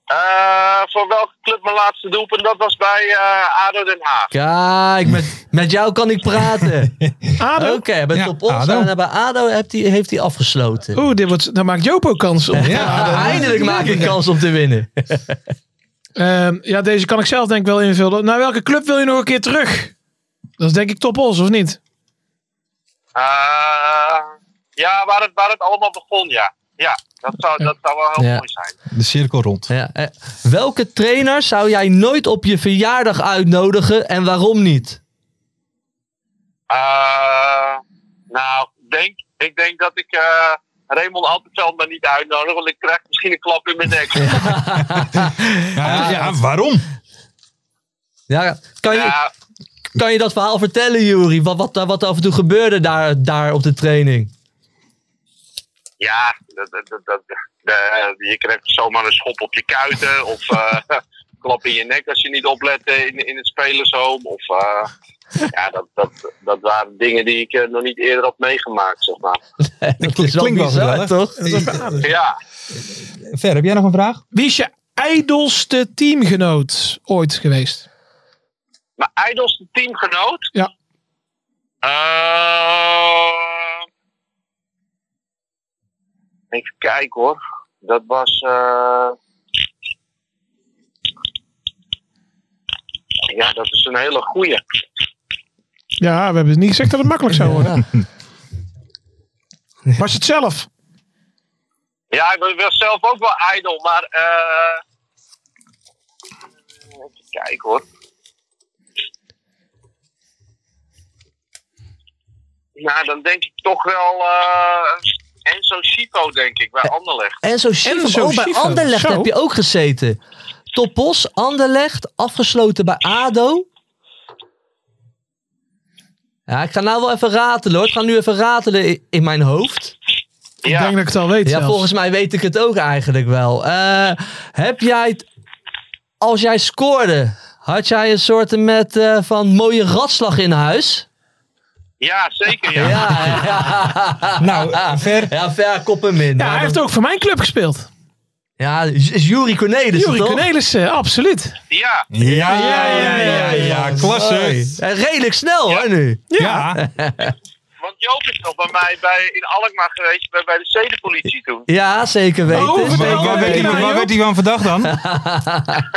[SPEAKER 9] Eh, voor welke club mijn laatste doelpunt? Dat was bij eh, ADO Den Haag.
[SPEAKER 7] Kijk, met, met jou kan ik praten. Oké,
[SPEAKER 6] ADO?
[SPEAKER 7] bij
[SPEAKER 5] Ja,
[SPEAKER 7] Topos
[SPEAKER 5] ADO.
[SPEAKER 7] en bij ADO heeft hij heeft hij afgesloten.
[SPEAKER 6] Oeh, dit wordt, dan maakt Joop ook kans op.
[SPEAKER 7] Ja, eindelijk maak ik kans om te winnen.
[SPEAKER 6] Ehm, ja, deze kan ik zelf denk ik wel invullen. Naar welke club wil je nog een keer terug? Dat is denk ik Top Os, of niet?
[SPEAKER 9] Eh, ja, waar het, waar het allemaal begon, ja. Ja, dat zou, dat zou wel heel
[SPEAKER 7] Ja.
[SPEAKER 9] mooi zijn.
[SPEAKER 5] De cirkel rond.
[SPEAKER 7] Ja, eh, welke trainer zou jij nooit op je verjaardag uitnodigen en waarom niet?
[SPEAKER 9] Eh, nou, denk, ik denk dat ik eh Raymond Altenveld maar niet uitnodig, want ik krijg misschien een klap in mijn nek.
[SPEAKER 5] Ja, Ah, ja, waarom?
[SPEAKER 7] Ja, kan, je,
[SPEAKER 9] Ja,
[SPEAKER 7] kan je dat verhaal vertellen, Juri? Wat, wat, daar- wat er af en toe gebeurde daar, daar op de training?
[SPEAKER 9] ja dat, dat, dat, dat- de- je krijgt zomaar een schop op je kuiten of eh, klap in je nek als je niet oplet eh, in, in het spelershome. Of, eh, ja, dat, dat, dat waren dingen die ik eh, nog niet eerder had meegemaakt, zeg maar.
[SPEAKER 7] Dat
[SPEAKER 5] klinkt wel
[SPEAKER 7] bizar,
[SPEAKER 5] gezellig.
[SPEAKER 7] toch?
[SPEAKER 9] Ja.
[SPEAKER 5] Ver, heb jij nog een vraag?
[SPEAKER 6] Wie is je ijdelste teamgenoot ooit geweest?
[SPEAKER 9] Mijn ijdelste teamgenoot?
[SPEAKER 6] Ja.
[SPEAKER 9] Eh, even kijken hoor. Dat was. eh, Ja, dat is een hele goeie.
[SPEAKER 6] Ja, we hebben niet gezegd dat het makkelijk zou worden. Was het zelf?
[SPEAKER 9] Ja, ik ben wel zelf ook wel ijdel, maar. eh, Kijk hoor. Nou, dan denk ik toch wel eh Enzo Chico, denk ik, bij Anderlecht.
[SPEAKER 7] En zo Schiffer,
[SPEAKER 6] Enzo
[SPEAKER 7] oh, bij
[SPEAKER 6] Schiffer,
[SPEAKER 7] Anderlecht
[SPEAKER 6] zo.
[SPEAKER 7] heb je ook gezeten. Topos, Anderlecht, afgesloten bij ADO. Ja, ik ga nou wel even ratelen hoor. Ik ga nu even ratelen i- in mijn hoofd.
[SPEAKER 6] Ik denk
[SPEAKER 9] Ja,
[SPEAKER 6] dat ik het al weet
[SPEAKER 7] Ja,
[SPEAKER 6] zelfs.
[SPEAKER 7] volgens mij weet ik het ook eigenlijk wel. Eh, heb jij, het- als jij scoorde, had jij een soort met, eh, van mooie ratslag in huis?
[SPEAKER 9] ja zeker ja.
[SPEAKER 7] Ja, ja, ja.
[SPEAKER 5] Nou, ver.
[SPEAKER 7] ja ver kop hem in.
[SPEAKER 6] Ja, hij heeft ook voor mijn club gespeeld.
[SPEAKER 7] ja is is Juri Cornelis
[SPEAKER 6] Jurie
[SPEAKER 7] toch?
[SPEAKER 6] Cornelissen, eh, absoluut.
[SPEAKER 9] Ja,
[SPEAKER 5] Ja, ja, ja, ja, ja. klasse.
[SPEAKER 7] Mooi. En Eh, redelijk snel hoor nu.
[SPEAKER 5] Ja.
[SPEAKER 9] want Joop is nog bij mij bij, in Alkmaar geweest, bij, bij de zedenpolitie toen.
[SPEAKER 7] Ja, zeker weten.
[SPEAKER 6] Oh,
[SPEAKER 5] Maar
[SPEAKER 6] vertel.
[SPEAKER 5] Waar werd hij- waar werd hij van verdacht dan?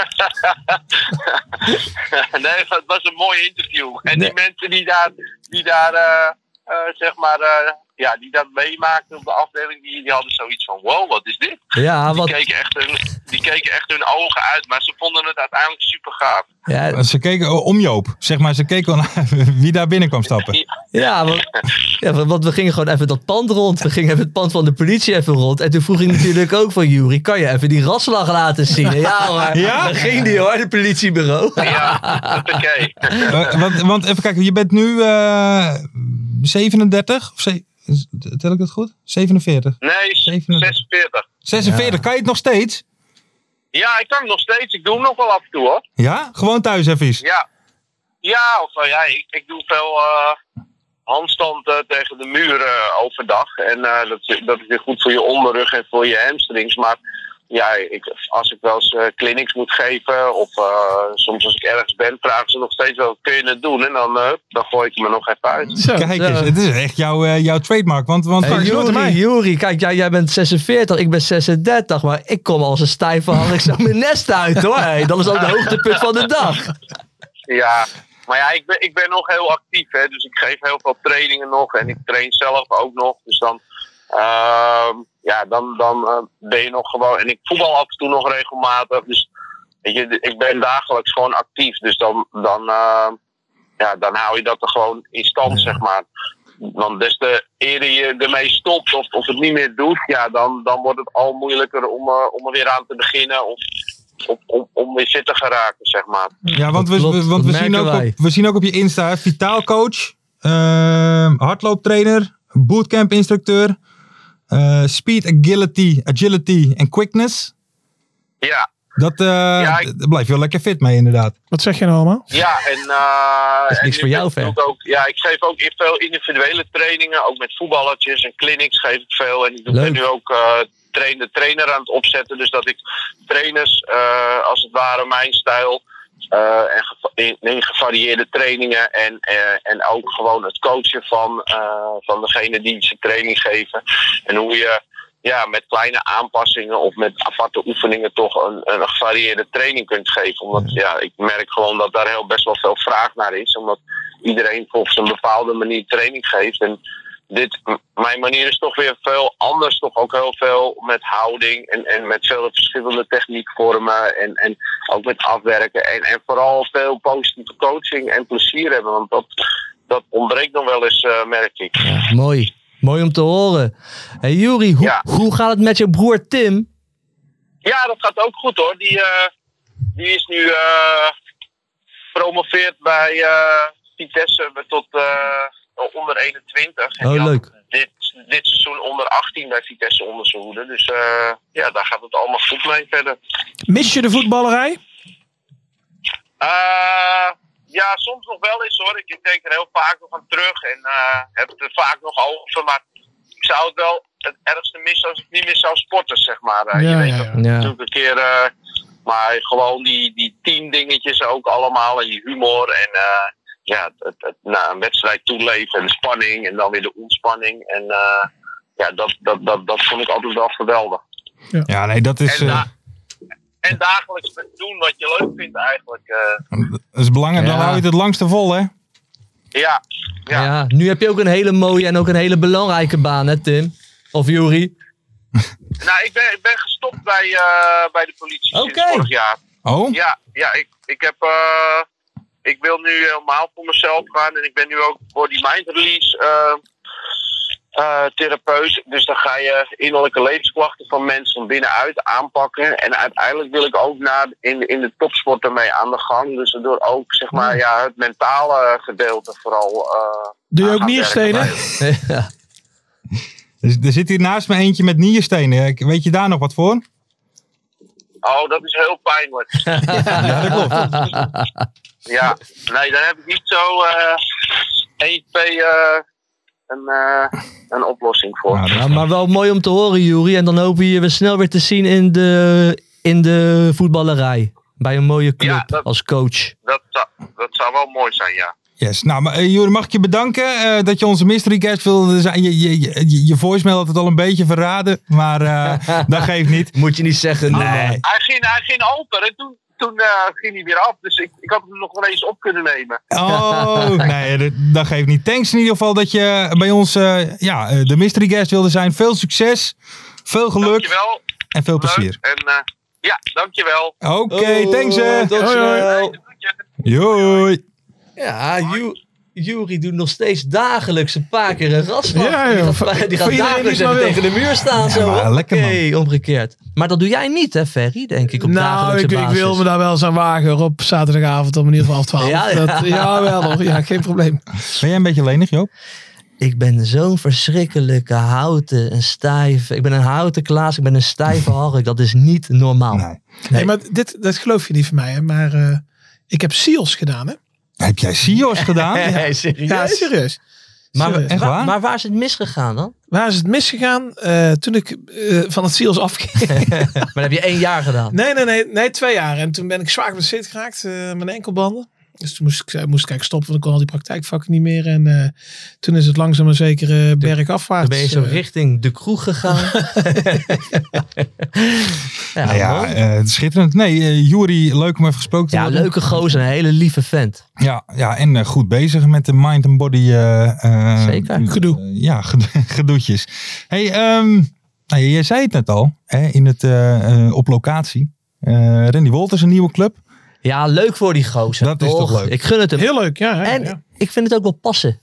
[SPEAKER 9] nee, het was een mooi interview. En die mensen die daar, die daar eh, eh, zeg maar, eh, ja, die dat meemaakten op de afdeling, die, die hadden zoiets van, wow, wat is dit?
[SPEAKER 7] Ja,
[SPEAKER 9] Die
[SPEAKER 7] wat,
[SPEAKER 9] keken, echt hun, die keken echt hun ogen uit, maar ze vonden het uiteindelijk super gaaf.
[SPEAKER 7] ja,
[SPEAKER 5] Ze keken oh, om Joop. Zeg maar, ze keken al naar wie daar binnen kwam stappen.
[SPEAKER 7] ja, want, ja, want- want we gingen gewoon even dat pand rond. We gingen even het pand van de politie even rond. En toen vroeg ik natuurlijk ook van Juri, kan je even die ratslag laten zien? Ja hoor,
[SPEAKER 5] Ja?
[SPEAKER 7] daar ging die hoor, het politiebureau.
[SPEAKER 9] Ja, oké.
[SPEAKER 5] Eh, want, want even kijken, je bent nu eh, 37? Of ze- tel ik dat goed? 47.
[SPEAKER 9] Nee, 46.
[SPEAKER 5] 46, kan je het nog steeds?
[SPEAKER 9] Ja, ik kan het nog steeds. Ik doe hem nog wel af en toe, hoor.
[SPEAKER 5] Ja? Gewoon thuis even eens.
[SPEAKER 9] Ja. Ja, of nou ja, ik, ik doe veel eh, handstand eh, tegen de muur eh, overdag. En eh, dat, is- dat is weer goed voor je onderrug en voor je hamstrings. Maar ja, ik, als ik wel eens eh, clinics moet geven of eh, soms als ik ergens ben, vragen ze nog steeds wel, kun je het doen? En dan, eh, dan gooi ik me nog even uit.
[SPEAKER 6] Zo.
[SPEAKER 5] Kijk
[SPEAKER 7] Ja.
[SPEAKER 5] eens, het is echt jouw, eh, jouw trademark. Want, want
[SPEAKER 7] Hey, Juri, Juri, kijk, jij, jij bent 46, ik ben 36, maar ik kom als een stijve hang ik zo mijn nest uit hoor. Hey, dat is ook de hoogtepunt van de dag.
[SPEAKER 9] Ja, maar ja, ik ben, ik ben nog heel actief, hè, dus ik geef heel veel trainingen nog en ik train zelf ook nog. Dus dan, ehm, ja, dan, dan eh, ben je nog gewoon. En ik voetbal af en toe nog regelmatig, dus weet je, ik ben dagelijks gewoon actief. Dus dan, dan, ehm, ja, dan hou je dat er gewoon in stand, zeg maar. Want des te eerder je ermee stopt of, of het niet meer doet, ja, dan, dan wordt het al moeilijker om, eh, om er weer aan te beginnen of om, om, om weer zitten te raken, zeg maar.
[SPEAKER 5] Ja, want,
[SPEAKER 7] Dat
[SPEAKER 5] we,
[SPEAKER 7] klopt,
[SPEAKER 5] want we,
[SPEAKER 7] dat
[SPEAKER 5] zien ook
[SPEAKER 7] merken
[SPEAKER 5] op,
[SPEAKER 7] wij.
[SPEAKER 5] we zien ook op je Insta hè, vitaalcoach, ehm, hardlooptrainer, bootcamp instructeur, eh, speed, agility, agility en quickness.
[SPEAKER 9] Ja.
[SPEAKER 5] Dat, eh
[SPEAKER 9] ik-
[SPEAKER 5] Daar blijf je wel lekker fit mee inderdaad.
[SPEAKER 6] Wat zeg je nou allemaal?
[SPEAKER 9] Ja, en... eh
[SPEAKER 7] is niks
[SPEAKER 9] en
[SPEAKER 7] voor jou,
[SPEAKER 9] ik doe
[SPEAKER 7] Fer.
[SPEAKER 9] het Ook, ja, ik geef ook veel individuele trainingen. Ook met voetballertjes en clinics geef ik veel. En ik doe-
[SPEAKER 7] Leuk.
[SPEAKER 9] ben nu ook eh train, de trainer aan het opzetten. Dus dat ik trainers, eh, als het ware mijn stijl... eh, en geva- in, in gevarieerde trainingen en, eh, en ook gewoon het coachen van, eh, van degene die ze training geven. En hoe je ja, met kleine aanpassingen of met aparte oefeningen toch een, een gevarieerde training kunt geven. Omdat ja, ik merk gewoon dat daar heel best wel veel vraag naar is. Omdat iedereen volgens een bepaalde manier training geeft. En dit, m- mijn manier is toch weer veel anders. Toch ook heel veel met houding en, en met veel verschillende techniekvormen. En, en ook met afwerken. En, en vooral veel positieve coaching en plezier hebben. Want dat, dat ontbreekt nog wel eens, eh, merk ik.
[SPEAKER 7] Mooi. Mooi om te horen. Hey Juri, hoe,
[SPEAKER 9] Ja.
[SPEAKER 7] hoe gaat het met je broer Tim?
[SPEAKER 9] Ja, dat gaat ook goed hoor. Die, eh, die is nu eh, gepromoveerd bij eh, Vitesse tot eh, onder 21. En
[SPEAKER 7] Oh,
[SPEAKER 9] die had
[SPEAKER 7] leuk.
[SPEAKER 9] Dit, dit seizoen onder 18 bij Vitesse onder zijn hoede. Dus eh, ja, daar gaat het allemaal goed mee verder.
[SPEAKER 6] Mis je de voetballerij?
[SPEAKER 9] Eh, ja, soms nog wel eens hoor. Ik ik denk er heel vaak nog aan terug en eh, heb het er vaak nog over. Maar ik zou het wel het ergste missen als ik niet meer zou sporten, zeg maar. Eh, je
[SPEAKER 6] Ja,
[SPEAKER 9] weet
[SPEAKER 6] ja,
[SPEAKER 9] dat
[SPEAKER 6] ja.
[SPEAKER 7] Ja.
[SPEAKER 9] natuurlijk een keer. eh, maar gewoon die, die teamdingetjes ook allemaal. En die humor. En eh, ja, het, het, na een wedstrijd toeleven. En de spanning. En dan weer de ontspanning. En eh, ja, dat, dat, dat, dat vond ik altijd wel geweldig.
[SPEAKER 5] Ja, nee, dat is,
[SPEAKER 9] En,
[SPEAKER 5] eh,
[SPEAKER 9] da- en dagelijks doen wat je leuk vindt eigenlijk. eh.
[SPEAKER 5] dat is belangrijk. Dan
[SPEAKER 7] Ja.
[SPEAKER 5] hou je het het langste vol, hè?
[SPEAKER 9] ja, ja.
[SPEAKER 7] Ja, nu heb je ook een hele mooie en ook een hele belangrijke baan, hè Tim? Of Juri?
[SPEAKER 9] Nou, ik ben, ik ben gestopt bij, eh, bij de politie sinds
[SPEAKER 7] Oké.
[SPEAKER 9] vorig jaar.
[SPEAKER 5] Oh,
[SPEAKER 9] Ja, ja, ik, ik heb. eh, ik wil nu helemaal voor mezelf gaan. En ik ben nu ook body mind release eh, eh, therapeut. Dus dan ga je innerlijke levensklachten van mensen van binnenuit aanpakken. En uiteindelijk wil ik ook naar, in, in de topsport ermee aan de gang. Dus daardoor ook zeg maar, ja, het mentale gedeelte vooral. eh,
[SPEAKER 6] Doe je
[SPEAKER 9] aan
[SPEAKER 6] ook
[SPEAKER 9] gaan
[SPEAKER 6] nierstenen?
[SPEAKER 9] werken.
[SPEAKER 7] ja.
[SPEAKER 5] Er, er zit hier naast me eentje met nierstenen. Ik- Weet je daar nog wat voor?
[SPEAKER 9] Oh, dat is heel pijnlijk.
[SPEAKER 5] Ja, dat klopt.
[SPEAKER 9] Ja, nee, dan heb ik niet zo eh 1, 2 eh, een, eh, een oplossing voor.
[SPEAKER 5] Nou,
[SPEAKER 7] Ja,
[SPEAKER 5] dat-
[SPEAKER 7] maar wel mooi om te horen, Juri. En dan hopen we je weer snel weer te zien in de, in de voetballerij. Bij een mooie club
[SPEAKER 9] Ja, dat-
[SPEAKER 7] als coach.
[SPEAKER 9] Dat, zou, dat zou wel mooi zijn, ja.
[SPEAKER 5] Yes. Nou, maar eh, Jure, mag ik je bedanken eh, dat je onze mystery guest wilde zijn? Je, je, je, je voicemail had het al een beetje verraden, maar eh, dat geeft niet.
[SPEAKER 7] Moet je niet zeggen.
[SPEAKER 5] Nee.
[SPEAKER 9] Hij ging, hij ging open en toen, toen eh, ging hij weer af. Dus ik, ik had hem nog wel eens op kunnen nemen.
[SPEAKER 5] Oh, nee, dat- dat geeft niet. Thanks in ieder geval dat je bij ons eh, ja, eh, de mystery guest wilde zijn. Veel succes, veel geluk
[SPEAKER 9] Dankjewel.
[SPEAKER 5] en veel plezier.
[SPEAKER 9] Leuk. En, eh, ja, dankjewel.
[SPEAKER 5] Oké, thanks eh. hè.
[SPEAKER 7] Hoi, hoi.
[SPEAKER 5] Joi.
[SPEAKER 7] Ja, Ju- Jury doet nog steeds dagelijks een paar keer een rasslag.
[SPEAKER 6] Ja,
[SPEAKER 7] die
[SPEAKER 6] joh.
[SPEAKER 7] gaat,
[SPEAKER 6] Voor-
[SPEAKER 7] die
[SPEAKER 6] voor
[SPEAKER 7] gaat
[SPEAKER 6] iedereen
[SPEAKER 7] dagelijks
[SPEAKER 6] die het
[SPEAKER 7] even
[SPEAKER 6] maar
[SPEAKER 7] tegen de muur staan. zo.
[SPEAKER 5] maar lekker, man.
[SPEAKER 7] Hoppakee, omgekeerd. Maar dat doe jij niet, hè, Ferry, denk ik, op
[SPEAKER 6] Nou,
[SPEAKER 7] dagelijkse
[SPEAKER 6] ik, ik
[SPEAKER 7] basis.
[SPEAKER 6] wil me daar wel eens aan wagen op zaterdagavond om in ieder geval half twaalf.
[SPEAKER 7] Ja,
[SPEAKER 6] Ja,
[SPEAKER 7] ja.
[SPEAKER 6] ja. Dat, jawel hoor. Ja, geen probleem.
[SPEAKER 5] Ben jij een beetje lenig, Joop?
[SPEAKER 7] Ik ben zo'n verschrikkelijke houten en stijf. Ik ben een houten Klaas, ik ben een stijve hark. Dat is niet normaal.
[SPEAKER 5] Nee.
[SPEAKER 6] Nee, maar dit, dat geloof je niet van mij, hè? maar eh, ik heb SEALs gedaan, hè?
[SPEAKER 5] Heb jij Sios gedaan?
[SPEAKER 7] Hey, serieus?
[SPEAKER 6] Ja, serieus.
[SPEAKER 7] Maar,
[SPEAKER 6] Serieus.
[SPEAKER 5] echt
[SPEAKER 7] waar,
[SPEAKER 5] waar?
[SPEAKER 7] maar waar is het misgegaan dan?
[SPEAKER 6] Waar is het misgegaan Eh, toen ik eh, van het SEALs afging?
[SPEAKER 7] Maar dat heb je één jaar gedaan.
[SPEAKER 6] nee, nee, nee, nee, twee jaar. En toen ben ik zwaar geblesseerd geraakt, eh, mijn enkelbanden. Dus toen moest ik, eh, moest ik eigenlijk stoppen, want ik kon al die praktijkvakken niet meer. En eh, toen is het langzaam maar zeker eh, bergafwaarts.
[SPEAKER 7] Dan ben je zo
[SPEAKER 6] eh,
[SPEAKER 7] richting de kroeg gegaan. ja,
[SPEAKER 5] Nou ja,
[SPEAKER 7] man.
[SPEAKER 5] eh, schitterend. Nee, eh, Juri, leuk om even gesproken te
[SPEAKER 7] ja,
[SPEAKER 5] worden.
[SPEAKER 7] leuke gozer, een hele lieve vent.
[SPEAKER 5] Ja, ja en eh, goed bezig met de mind en body. eh, eh,
[SPEAKER 7] Zeker.
[SPEAKER 6] Gedoe.
[SPEAKER 5] eh, ja, gedo- gedoetjes. hey, ehm, nou, jij zei het net al, hè, in het, eh, eh, op locatie. Eh, Randy Wolters, een nieuwe club.
[SPEAKER 7] Ja, leuk voor die gozer.
[SPEAKER 5] Dat is toch leuk?
[SPEAKER 7] Ik gun het hem.
[SPEAKER 6] Heel leuk, ja. ja,
[SPEAKER 7] en
[SPEAKER 6] ja.
[SPEAKER 7] ik vind het ook wel passen.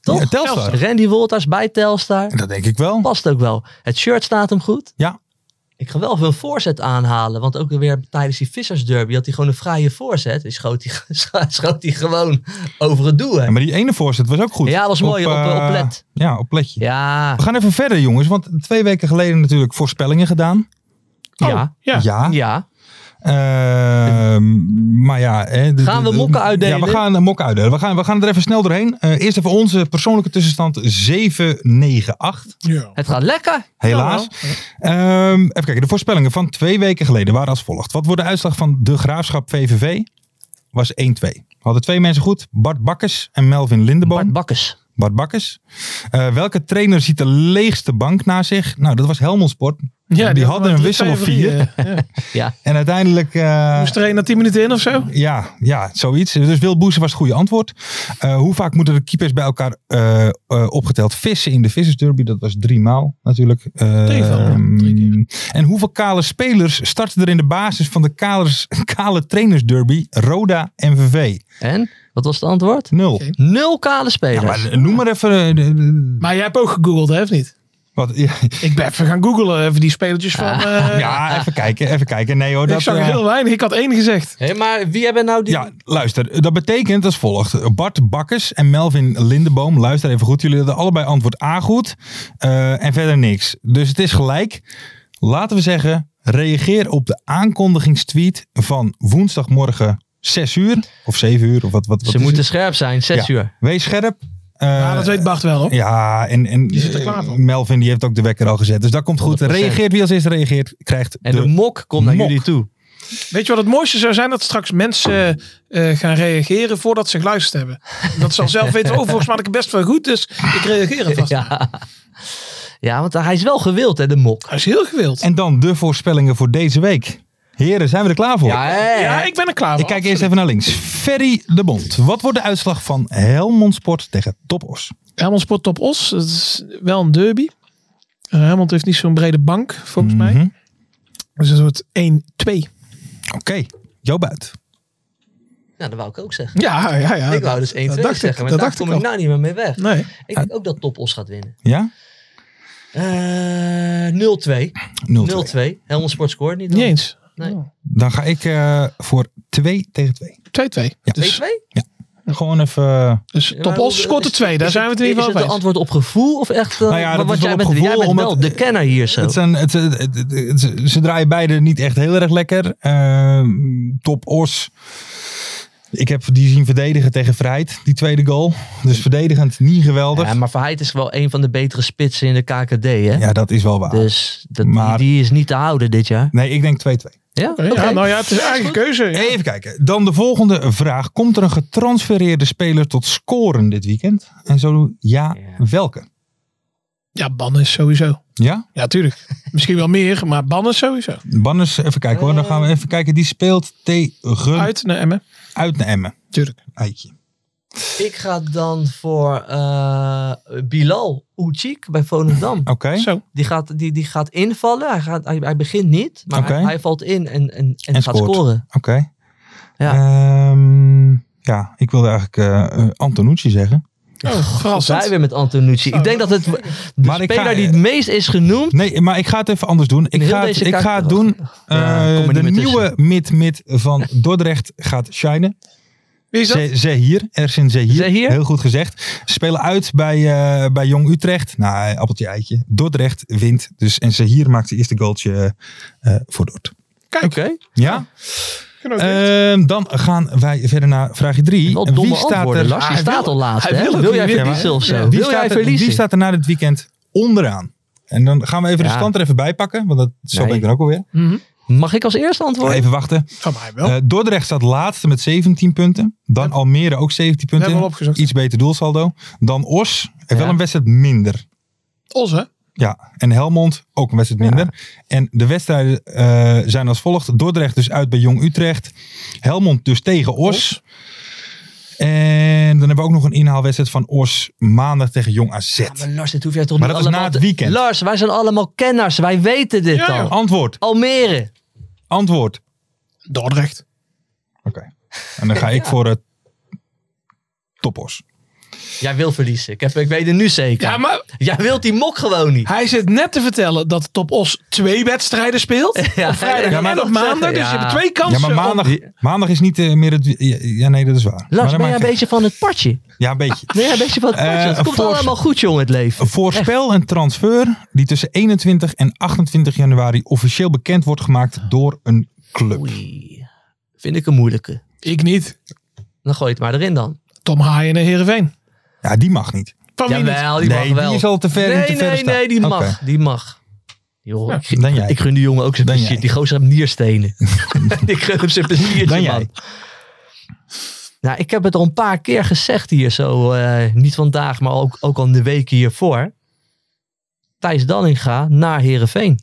[SPEAKER 7] Toch?
[SPEAKER 5] Ja, Telstar.
[SPEAKER 7] Randy Wolters bij Telstar.
[SPEAKER 5] Dat denk ik wel.
[SPEAKER 7] Past ook wel. Het shirt staat hem goed.
[SPEAKER 5] Ja.
[SPEAKER 7] Ik ga wel even een voorzet aanhalen. Want ook weer tijdens die vissersderby had hij gewoon een vrije voorzet. Die schoot hij, schoot hij gewoon over het doel. hè.
[SPEAKER 5] Ja, maar die ene voorzet was ook goed.
[SPEAKER 7] Ja, was mooi, op, eh, op led.
[SPEAKER 5] Ja, op letje.
[SPEAKER 7] Ja.
[SPEAKER 5] We gaan even verder, jongens. Want twee weken geleden natuurlijk voorspellingen gedaan.
[SPEAKER 7] Ja.
[SPEAKER 6] Oh, Ja.
[SPEAKER 5] ja.
[SPEAKER 7] Ja.
[SPEAKER 5] Ehm, maar ja. Hè, de-
[SPEAKER 7] Gaan we
[SPEAKER 5] de-
[SPEAKER 7] mokken uitdelen?
[SPEAKER 5] Ja, we gaan eh, mokken uitdelen. We gaan, we gaan er even snel doorheen. Eh, eerst even onze persoonlijke tussenstand 798.
[SPEAKER 6] Ja.
[SPEAKER 7] Het gaat lekker.
[SPEAKER 5] Helaas. Ehm, even kijken. De voorspellingen van twee weken geleden waren als volgt. Wat wordt de uitslag van de Graafschap VVV? Was 1-2. We hadden twee mensen goed. Bart Bakkers en Melvin Lindeboom.
[SPEAKER 7] Bart
[SPEAKER 5] Bart, Bakkers.
[SPEAKER 7] Bakkers.
[SPEAKER 5] Eh, welke trainer ziet de leegste bank na zich? Nou, dat was Helmond Sport. die hadden een
[SPEAKER 6] maar drie,
[SPEAKER 5] wissel
[SPEAKER 6] twee,
[SPEAKER 5] of
[SPEAKER 6] drie,
[SPEAKER 5] vier.
[SPEAKER 6] eh, ja.
[SPEAKER 5] En uiteindelijk... eh,
[SPEAKER 6] Moest er één na tien minuten in of zo?
[SPEAKER 5] Ja, ja, zoiets. Dus Wil Boezen was het goede antwoord. Eh, hoe vaak moeten de keepers bij elkaar eh, eh, opgeteld vissen in de vissersderby? Dat was drie maal natuurlijk. Eh,
[SPEAKER 6] Tegenvallen, ja,
[SPEAKER 5] ehm,
[SPEAKER 6] drie
[SPEAKER 5] en hoeveel kale spelers starten er in de basis van de kalers, kale trainersderby Roda MVV?
[SPEAKER 7] En? Wat was het antwoord?
[SPEAKER 5] Nul.
[SPEAKER 6] Oké.
[SPEAKER 7] Nul kale spelers.
[SPEAKER 5] Ja, maar noem maar even. eh, de- de-
[SPEAKER 6] Maar jij hebt ook gegoogeld, hè, of niet?
[SPEAKER 5] wat, ja,
[SPEAKER 6] Ik ben even gaan googelen, even die spelertjes van... eh,
[SPEAKER 5] ja, even kijken, even kijken. Nee hoor,
[SPEAKER 6] ik
[SPEAKER 5] dat,
[SPEAKER 6] zag
[SPEAKER 5] eh,
[SPEAKER 6] heel weinig, ik had één gezegd.
[SPEAKER 7] Hé, maar wie hebben nou die...
[SPEAKER 5] Ja, luister. Dat betekent als volgt. Bart Bakkers en Melvin Lindeboom. Luister even goed. Jullie hadden allebei antwoord A goed. eh, en verder niks. Dus het is gelijk. Laten we zeggen, reageer op de aankondigingstweet van woensdagmorgen 6 uur. Of 7 uur. Of wat, wat, wat
[SPEAKER 7] Ze
[SPEAKER 5] is
[SPEAKER 7] moeten
[SPEAKER 5] het?
[SPEAKER 7] scherp zijn, zes
[SPEAKER 5] Ja.
[SPEAKER 7] uur.
[SPEAKER 5] Wees scherp. Eh,
[SPEAKER 6] Ja, dat weet Bart wel, hoor.
[SPEAKER 5] ja, en, en
[SPEAKER 6] Die zit er klaar voor.
[SPEAKER 5] Melvin die heeft ook de wekker al gezet. Dus dat komt goed.
[SPEAKER 7] 100%.
[SPEAKER 5] Reageert wie als eerst reageert, krijgt
[SPEAKER 7] En de,
[SPEAKER 5] de
[SPEAKER 7] mok komt naar
[SPEAKER 5] mok.
[SPEAKER 7] jullie toe.
[SPEAKER 6] Weet je wat het mooiste zou zijn? Dat straks mensen eh, gaan reageren voordat ze geluisterd hebben. Dat ze al zelf weten, oh, volgens mij had ik het best wel goed, dus ik reageer er vast. maar.
[SPEAKER 7] Ja. ja, want hij is wel gewild, hè, de mok.
[SPEAKER 6] Hij is heel gewild.
[SPEAKER 5] En dan de voorspellingen voor deze week. Heren, zijn we er klaar voor?
[SPEAKER 7] Ja, hè?
[SPEAKER 6] ja, ik ben er klaar voor.
[SPEAKER 5] Ik kijk eerst even naar links. Ferry de Bond. Wat wordt de uitslag van Helmond Sport tegen Topos?
[SPEAKER 6] Helmond Sport Top Os, dat is wel een derby. Eh, Helmond heeft niet zo'n brede bank, volgens mij.
[SPEAKER 5] Mhm.
[SPEAKER 6] Dus een soort 1-2.
[SPEAKER 5] Oké, jouw buit.
[SPEAKER 7] Nou, dat wou ik ook zeggen.
[SPEAKER 6] Ja, ja, ja.
[SPEAKER 7] ik wou dus 1-2
[SPEAKER 6] dat dacht
[SPEAKER 7] zeggen,
[SPEAKER 6] ik,
[SPEAKER 7] maar
[SPEAKER 6] dat
[SPEAKER 7] daar
[SPEAKER 6] dacht
[SPEAKER 7] kom
[SPEAKER 6] ik
[SPEAKER 7] ik,
[SPEAKER 6] al.
[SPEAKER 7] nou niet meer mee weg.
[SPEAKER 6] Nee.
[SPEAKER 7] Ik denk ook dat Topos gaat winnen.
[SPEAKER 5] Ja?
[SPEAKER 7] Eh, 0-2.
[SPEAKER 5] 0-2.
[SPEAKER 7] 0-2. Helmond Sport scoort niet.
[SPEAKER 6] Niet
[SPEAKER 7] dan.
[SPEAKER 6] eens.
[SPEAKER 7] Nee.
[SPEAKER 5] Dan ga ik eh, voor 2 tegen 2.
[SPEAKER 6] 2-2. Dus,
[SPEAKER 7] 2-2?
[SPEAKER 5] Gewoon even... eh,
[SPEAKER 6] dus
[SPEAKER 7] Ja, maar hoe-
[SPEAKER 6] Topos scoort
[SPEAKER 7] is-
[SPEAKER 6] de 2. Daar
[SPEAKER 7] is
[SPEAKER 6] zijn we
[SPEAKER 7] het-
[SPEAKER 6] het in ieder
[SPEAKER 7] Is het
[SPEAKER 6] geval
[SPEAKER 7] een
[SPEAKER 6] over
[SPEAKER 7] antwoord op gevoel of echt... eh,
[SPEAKER 5] Nou ja, dat
[SPEAKER 7] want
[SPEAKER 5] is wel
[SPEAKER 7] jij
[SPEAKER 5] op
[SPEAKER 7] bent, jij
[SPEAKER 5] gevoel,
[SPEAKER 7] bent
[SPEAKER 5] omdat-
[SPEAKER 7] wel de kenner hier zo.
[SPEAKER 5] Het zijn, het, het- het- het- ze- ze draaien beide niet echt heel erg lekker. Ehm, top Os. Ik heb die zien verdedigen tegen Vrijheid, die tweede goal. Dus verdedigend niet geweldig.
[SPEAKER 7] Ja,
[SPEAKER 5] Ja,
[SPEAKER 7] maar Verheid is wel een van de betere spitsen in de KKD, hè?
[SPEAKER 5] dat is wel waar.
[SPEAKER 7] Dus dat, die-
[SPEAKER 5] Maar-
[SPEAKER 7] die, is niet te houden dit jaar.
[SPEAKER 5] Nee, ik denk 2-2.
[SPEAKER 7] Ja?
[SPEAKER 6] eens. Ja,
[SPEAKER 7] Oké.
[SPEAKER 6] nou ja, het is eigen keuze. Ja.
[SPEAKER 5] Even kijken. Dan de volgende vraag. Komt er een getransfereerde speler tot scoren dit weekend? En zo ja,
[SPEAKER 7] Ja.
[SPEAKER 5] welke?
[SPEAKER 6] Ja, Bannes sowieso.
[SPEAKER 5] Ja?
[SPEAKER 6] Ja, tuurlijk. Misschien wel meer, maar Bannes sowieso.
[SPEAKER 5] Banners, even kijken hoor. Dan gaan we
[SPEAKER 7] Eh.
[SPEAKER 5] even kijken. Die speelt tegen uit,
[SPEAKER 6] Uit naar Emmen.
[SPEAKER 5] naar Emmen.
[SPEAKER 6] Tuurlijk.
[SPEAKER 5] Eitje.
[SPEAKER 7] Ik ga dan voor eh, Bilal Uchik bij Volendam.
[SPEAKER 5] Oké.
[SPEAKER 6] Zo.
[SPEAKER 7] Die gaat, die, die gaat invallen. Hij, gaat, hij, hij begint niet, maar
[SPEAKER 5] Oké.
[SPEAKER 7] hij, hij valt in en, en, en,
[SPEAKER 5] En
[SPEAKER 7] gaat
[SPEAKER 5] scoort.
[SPEAKER 7] scoren.
[SPEAKER 5] Oké.
[SPEAKER 7] Ja.
[SPEAKER 5] Ehm, ja, ik wilde eigenlijk eh eh, Antonucci zeggen.
[SPEAKER 6] Oh,
[SPEAKER 7] Zij
[SPEAKER 6] verrassend.
[SPEAKER 7] weer met Antonucci. Ik denk dat het de
[SPEAKER 5] Maar ik
[SPEAKER 7] speler
[SPEAKER 5] ga-
[SPEAKER 7] die het meest is genoemd.
[SPEAKER 5] Nee, maar ik ga het even anders doen. Ik
[SPEAKER 7] heel
[SPEAKER 5] ga het,
[SPEAKER 7] deze
[SPEAKER 5] ik
[SPEAKER 7] kaart-
[SPEAKER 5] ga het doen.
[SPEAKER 7] Ja,
[SPEAKER 5] Eh,
[SPEAKER 7] kom er
[SPEAKER 5] de
[SPEAKER 7] niet meer
[SPEAKER 5] nieuwe mid-mid van Dordrecht gaat shinen.
[SPEAKER 6] Wie is dat?
[SPEAKER 5] Ze- Zehir, Ersin Zehir.
[SPEAKER 7] Zehir?
[SPEAKER 5] Heel goed gezegd. Spelen uit bij, eh, bij Jong Utrecht. Nou, appeltje eitje. Dordrecht wint. Dus, en Zehir maakt zijn eerste goaltje eh, voor Dort.
[SPEAKER 6] Kijk.
[SPEAKER 5] Ja?
[SPEAKER 6] Kan ook niet.
[SPEAKER 5] Ehm, dan gaan wij verder naar vraagje 3.
[SPEAKER 7] Wel domme antwoorden, Lars. Je staat al laatst,
[SPEAKER 5] Ah, hij
[SPEAKER 7] hè?
[SPEAKER 5] wil
[SPEAKER 7] Wil,
[SPEAKER 5] het niet
[SPEAKER 7] jij
[SPEAKER 5] winnen,
[SPEAKER 7] verliezen
[SPEAKER 5] maar-
[SPEAKER 7] of zo?
[SPEAKER 5] Ja.
[SPEAKER 7] Wil
[SPEAKER 5] staat
[SPEAKER 7] jij
[SPEAKER 5] er-
[SPEAKER 7] verliezen?
[SPEAKER 5] Wie staat er na dit weekend onderaan? En dan gaan we even de
[SPEAKER 7] Ja.
[SPEAKER 5] stand er even bij pakken. Want dat, zo
[SPEAKER 7] Nee.
[SPEAKER 5] ben ik er ook alweer.
[SPEAKER 7] Mhm. Mag ik als eerste antwoorden?
[SPEAKER 5] Even wachten.
[SPEAKER 6] Van mij wel.
[SPEAKER 5] Eh, Dordrecht staat laatste met 17 punten. Dan Almere ook 17
[SPEAKER 6] we hebben
[SPEAKER 5] punten.
[SPEAKER 6] al opgezocht.
[SPEAKER 5] Iets beter doelsaldo. Dan Os. heeft
[SPEAKER 7] Ja.
[SPEAKER 5] Wel een wedstrijd minder.
[SPEAKER 6] Os, hè?
[SPEAKER 5] Ja, en Helmond ook een wedstrijd minder. En de wedstrijden eh, zijn als volgt. Dordrecht dus uit bij Jong Utrecht. Helmond dus tegen Os. En dan hebben we ook nog een inhaalwedstrijd van Os maandag tegen Jong AZ.
[SPEAKER 7] Ja, maar Lars, dit hoef jij toch
[SPEAKER 5] Maar
[SPEAKER 7] niet
[SPEAKER 5] dat is na
[SPEAKER 7] allemaal
[SPEAKER 5] het
[SPEAKER 7] te-
[SPEAKER 5] weekend.
[SPEAKER 7] Lars, wij zijn allemaal kenners. Wij weten dit
[SPEAKER 6] Ja,
[SPEAKER 7] al.
[SPEAKER 5] Antwoord,
[SPEAKER 7] Almere.
[SPEAKER 5] antwoord.
[SPEAKER 6] Dordrecht.
[SPEAKER 5] Oké. En dan ga ik voor eh, het topos.
[SPEAKER 7] Jij wil verliezen. Ik, heb, ik weet het nu zeker.
[SPEAKER 6] Ja, maar
[SPEAKER 7] Jij wilt die mok gewoon niet.
[SPEAKER 6] hij zit net te vertellen dat Top Os twee wedstrijden speelt.
[SPEAKER 7] Ja,
[SPEAKER 6] Op vrijdag
[SPEAKER 7] ja, maar
[SPEAKER 6] en op
[SPEAKER 7] dat
[SPEAKER 6] maandag.
[SPEAKER 7] zeggen,
[SPEAKER 6] Dus je
[SPEAKER 7] ja.
[SPEAKER 6] hebt twee
[SPEAKER 5] Ja,
[SPEAKER 6] kansen.
[SPEAKER 5] maar
[SPEAKER 6] om-
[SPEAKER 5] maandag, maandag is niet eh, meer het... Ja, ja, nee, dat is waar. Maar
[SPEAKER 7] Lars,
[SPEAKER 5] dat
[SPEAKER 7] ben jij Ah,
[SPEAKER 5] maakt
[SPEAKER 7] een
[SPEAKER 5] geen-
[SPEAKER 7] beetje van het partje?
[SPEAKER 5] Ja, een beetje.
[SPEAKER 7] Ben jij een beetje van het
[SPEAKER 5] Eh,
[SPEAKER 7] partje? het komt
[SPEAKER 5] voor-
[SPEAKER 7] allemaal goed, jongen, het leven.
[SPEAKER 5] Voorspel een transfer die tussen 21 en 28 januari officieel bekend wordt gemaakt door een club.
[SPEAKER 7] Oei. Vind ik een moeilijke.
[SPEAKER 6] Ik niet.
[SPEAKER 7] Dan gooi je het maar erin dan.
[SPEAKER 6] Tom Haaien en Heerenveen.
[SPEAKER 5] Ja, die mag niet.
[SPEAKER 6] Van wie niet?
[SPEAKER 7] Jawel, die
[SPEAKER 5] nee,
[SPEAKER 7] mag wel.
[SPEAKER 5] die is al te ver in
[SPEAKER 7] nee,
[SPEAKER 5] te verre
[SPEAKER 7] nee,
[SPEAKER 5] staat.
[SPEAKER 7] nee, die
[SPEAKER 5] Oké.
[SPEAKER 7] mag. Die mag. Joh, ik,
[SPEAKER 5] dan jij.
[SPEAKER 7] ik gun die jongen ook zijn
[SPEAKER 5] Dan
[SPEAKER 7] plezier.
[SPEAKER 5] jij.
[SPEAKER 7] Die gozer heeft nierstenen. ik gun hem zijn pleziertje,
[SPEAKER 5] Dan
[SPEAKER 7] man.
[SPEAKER 5] jij.
[SPEAKER 7] Nou, ik heb het al een paar keer gezegd hier zo. eh, niet vandaag, maar ook, ook al de weken hiervoor. Thijs Dallinga naar Heerenveen.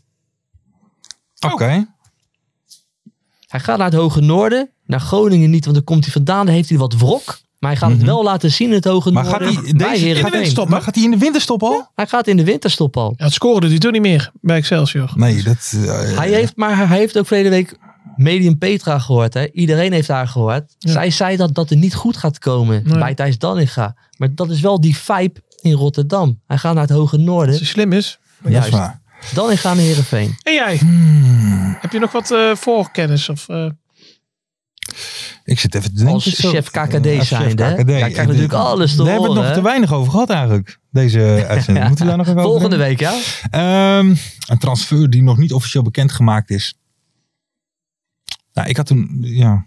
[SPEAKER 5] Oké.
[SPEAKER 7] Oh. Hij gaat naar het Hoge Noorden. Naar Groningen niet, want daar komt hij vandaan. Daar heeft hij wat wrok. Maar hij gaat
[SPEAKER 5] Mhm.
[SPEAKER 7] het wel laten zien in het Hoge
[SPEAKER 5] Maar gaat
[SPEAKER 7] Noorden.
[SPEAKER 5] hij deze
[SPEAKER 7] bij
[SPEAKER 5] in de
[SPEAKER 7] Heerenveen.
[SPEAKER 5] winterstop? Maar gaat hij in de winterstop al?
[SPEAKER 7] Hij gaat in de winterstop al.
[SPEAKER 6] Ja, het scoorde hij toen niet meer bij Excelsior.
[SPEAKER 5] Nee, dat... eh,
[SPEAKER 7] Hij heeft, maar hij heeft ook verleden week Medium Petra gehoord. Hè? Iedereen heeft haar gehoord.
[SPEAKER 6] Ja.
[SPEAKER 7] Zij zei dat dat er niet goed gaat komen
[SPEAKER 6] Nee.
[SPEAKER 7] bij Thijs Dallinga. Maar dat is wel die vibe in Rotterdam. Hij gaat naar het Hoge
[SPEAKER 6] Dat
[SPEAKER 7] Noorden.
[SPEAKER 6] is slim is.
[SPEAKER 5] dat is
[SPEAKER 7] Juist. Hmm.
[SPEAKER 5] waar.
[SPEAKER 7] Dallinga naar Heerenveen.
[SPEAKER 6] En jij? Heb je nog wat eh, voorkennis? Of, eh,
[SPEAKER 5] Ik zit even te denken.
[SPEAKER 7] Als
[SPEAKER 5] zo-
[SPEAKER 7] chef KKD
[SPEAKER 5] Eh, als
[SPEAKER 7] zijnde,
[SPEAKER 5] chef
[SPEAKER 7] hè?
[SPEAKER 5] KKD.
[SPEAKER 7] Ja, krijg je natuurlijk alles te
[SPEAKER 5] Daar hebben we het nog
[SPEAKER 7] horen,
[SPEAKER 5] te weinig over gehad eigenlijk. Deze eh, uitzending. Moeten we daar nog even over
[SPEAKER 7] Volgende
[SPEAKER 5] hebben?
[SPEAKER 7] week, ja?
[SPEAKER 5] Ehm, een transfer die nog niet officieel bekendgemaakt is. Nou, ik had toen, ja.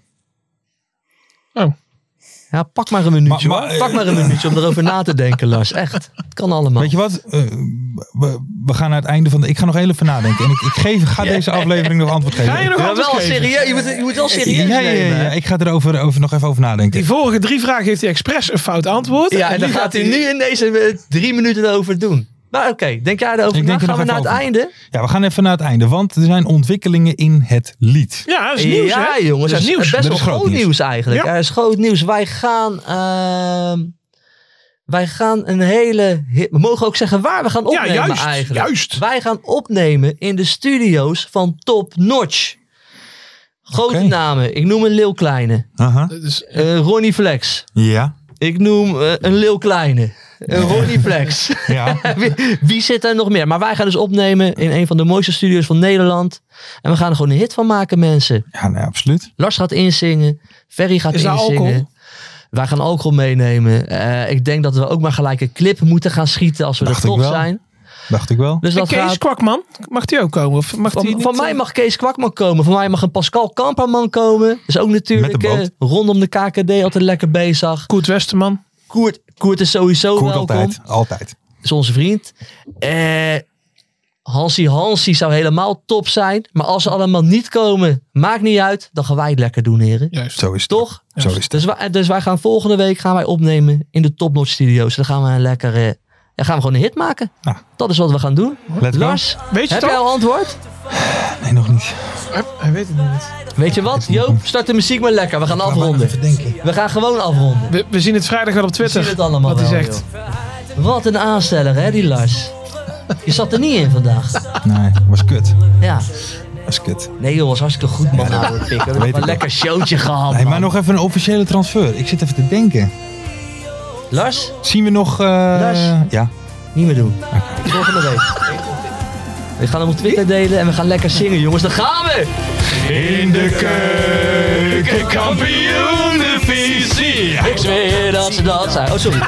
[SPEAKER 7] Ja, pak maar een minuutje.
[SPEAKER 5] Maar- maar,
[SPEAKER 7] hoor. pak
[SPEAKER 5] eh,
[SPEAKER 7] maar een minuutje om erover na te denken, Lars. Echt. Het kan allemaal.
[SPEAKER 5] Weet je wat? Eh, we, we gaan naar het einde van de. Ik ga nog heel even nadenken. En ik, ik geef, ga deze aflevering nog antwoord geven.
[SPEAKER 6] Ga je
[SPEAKER 5] Ik-
[SPEAKER 6] nog
[SPEAKER 7] Ja, wel
[SPEAKER 6] antwoord geven?
[SPEAKER 7] serieus. Je moet, je moet wel serieus
[SPEAKER 5] ja, ja, ja,
[SPEAKER 7] nemen.
[SPEAKER 5] ja.
[SPEAKER 7] hè?
[SPEAKER 5] Ik ga erover over, nog even over nadenken.
[SPEAKER 6] Die vorige drie vragen heeft hij expres een fout antwoord.
[SPEAKER 7] Ja, en
[SPEAKER 6] die
[SPEAKER 7] dan gaat hij nu in deze eh, drie minuten erover doen. Nou, oké. Denk jij erover
[SPEAKER 5] Ik
[SPEAKER 7] na?
[SPEAKER 5] denk er
[SPEAKER 7] Gaan we
[SPEAKER 5] nog
[SPEAKER 7] naar
[SPEAKER 5] even
[SPEAKER 7] het
[SPEAKER 5] over.
[SPEAKER 7] einde?
[SPEAKER 5] Ja, we gaan even naar het einde. Want er zijn ontwikkelingen in het lied.
[SPEAKER 6] Ja, dat is nieuws,
[SPEAKER 7] ja,
[SPEAKER 6] hè?
[SPEAKER 7] jongens,
[SPEAKER 6] Dat is nieuws.
[SPEAKER 7] Best
[SPEAKER 5] Dat
[SPEAKER 7] wel
[SPEAKER 5] is groot
[SPEAKER 7] groot nieuws,
[SPEAKER 5] nieuws.
[SPEAKER 7] eigenlijk.
[SPEAKER 6] Ja.
[SPEAKER 7] Er is groot nieuws. Wij gaan, ehm, wij gaan een hele. hit- We mogen ook zeggen waar we gaan
[SPEAKER 6] Ja,
[SPEAKER 7] opnemen,
[SPEAKER 6] juist,
[SPEAKER 7] eigenlijk.
[SPEAKER 6] juist.
[SPEAKER 7] Wij gaan opnemen in de studio's van Top Notch. Grote
[SPEAKER 5] Oké.
[SPEAKER 7] namen. Ik noem een Leeuw Kleine.
[SPEAKER 5] Aha.
[SPEAKER 6] Dus,
[SPEAKER 7] Eh, Ronnie Flex.
[SPEAKER 5] Ja.
[SPEAKER 7] Ik noem eh, een Leeuw Kleine. Een Ronnie Flex.
[SPEAKER 5] Ja.
[SPEAKER 7] wie, wie zit er nog meer? Maar wij gaan dus opnemen in een van de mooiste studios van Nederland. En we gaan er gewoon een hit van maken, mensen.
[SPEAKER 5] nou ja, nee, absoluut.
[SPEAKER 7] Lars gaat inzingen. Ferry gaat
[SPEAKER 6] Is daar
[SPEAKER 7] inzingen.
[SPEAKER 6] alcohol?
[SPEAKER 7] Wij gaan alcohol meenemen. Eh, ik denk dat we ook maar gelijk een clip moeten gaan schieten als we
[SPEAKER 5] Dacht
[SPEAKER 7] er
[SPEAKER 5] ik
[SPEAKER 7] toch
[SPEAKER 5] wel.
[SPEAKER 7] zijn.
[SPEAKER 5] Dacht ik wel.
[SPEAKER 7] Dus
[SPEAKER 6] en
[SPEAKER 7] dat
[SPEAKER 6] Kees
[SPEAKER 7] gaat...
[SPEAKER 6] Kwakman, mag die ook komen? Of mag die
[SPEAKER 7] Van,
[SPEAKER 6] niet,
[SPEAKER 7] van mij
[SPEAKER 6] eh,
[SPEAKER 7] mag Kees Kwakman komen. Van mij mag een Pascal Kamperman komen. Is ook natuurlijk
[SPEAKER 5] Met de boot.
[SPEAKER 7] eh, rondom de KKD altijd lekker bezig.
[SPEAKER 6] Koert Westerman.
[SPEAKER 7] Koert, Koert is sowieso
[SPEAKER 5] Koert
[SPEAKER 7] welkom.
[SPEAKER 5] altijd. Altijd.
[SPEAKER 7] is onze vriend. Eh, Hansi Hansi zou helemaal top zijn. Maar als ze allemaal niet komen, maakt niet uit. Dan gaan wij het lekker doen, heren.
[SPEAKER 6] Juist.
[SPEAKER 5] Zo is het.
[SPEAKER 7] Toch?
[SPEAKER 5] Zo is het.
[SPEAKER 7] Dus wij, dus wij gaan volgende week gaan wij opnemen in de Top Notch Studios. Dan gaan we een lekker... eh, dan gaan we gewoon een hit maken.
[SPEAKER 5] Nou.
[SPEAKER 7] Dat is wat we gaan doen.
[SPEAKER 5] Let's go.
[SPEAKER 7] Lars,
[SPEAKER 6] Weet je
[SPEAKER 7] heb
[SPEAKER 6] het
[SPEAKER 7] jij
[SPEAKER 6] al?
[SPEAKER 7] al antwoord?
[SPEAKER 5] Nee, nog niet.
[SPEAKER 6] Hij weet het niet.
[SPEAKER 7] Weet je wat? Joop,
[SPEAKER 5] Mm-hmm.
[SPEAKER 7] start de muziek maar lekker. We gaan afronden. We gaan gewoon afronden.
[SPEAKER 6] We, we zien het vrijdag wel op
[SPEAKER 7] We zien
[SPEAKER 6] Twitter.
[SPEAKER 7] het allemaal
[SPEAKER 6] wat hij
[SPEAKER 7] wel,
[SPEAKER 6] zegt.
[SPEAKER 7] joh. Wat een aansteller, hè, die Lars. Je zat er niet in vandaag.
[SPEAKER 5] Nee, was kut.
[SPEAKER 7] Ja.
[SPEAKER 5] Was kut.
[SPEAKER 7] Nee joh, was hartstikke goed man. ouwe pik. We hebben
[SPEAKER 5] weet
[SPEAKER 7] wel een
[SPEAKER 5] ik
[SPEAKER 7] lekker showtje gehad
[SPEAKER 5] Nee,
[SPEAKER 7] man.
[SPEAKER 5] maar nog even een officiële transfer. Ik zit even te denken.
[SPEAKER 7] Lars,
[SPEAKER 5] Zien we nog... eh,
[SPEAKER 7] Lars?
[SPEAKER 5] Ja.
[SPEAKER 7] niet meer doen. Volgende week. Ah. We gaan hem op Twitter delen en we gaan lekker zingen jongens. Daar gaan we!
[SPEAKER 5] In de keuken, kampioenenvisie.
[SPEAKER 7] Ik zweer dat ze dat zijn. Oh sorry.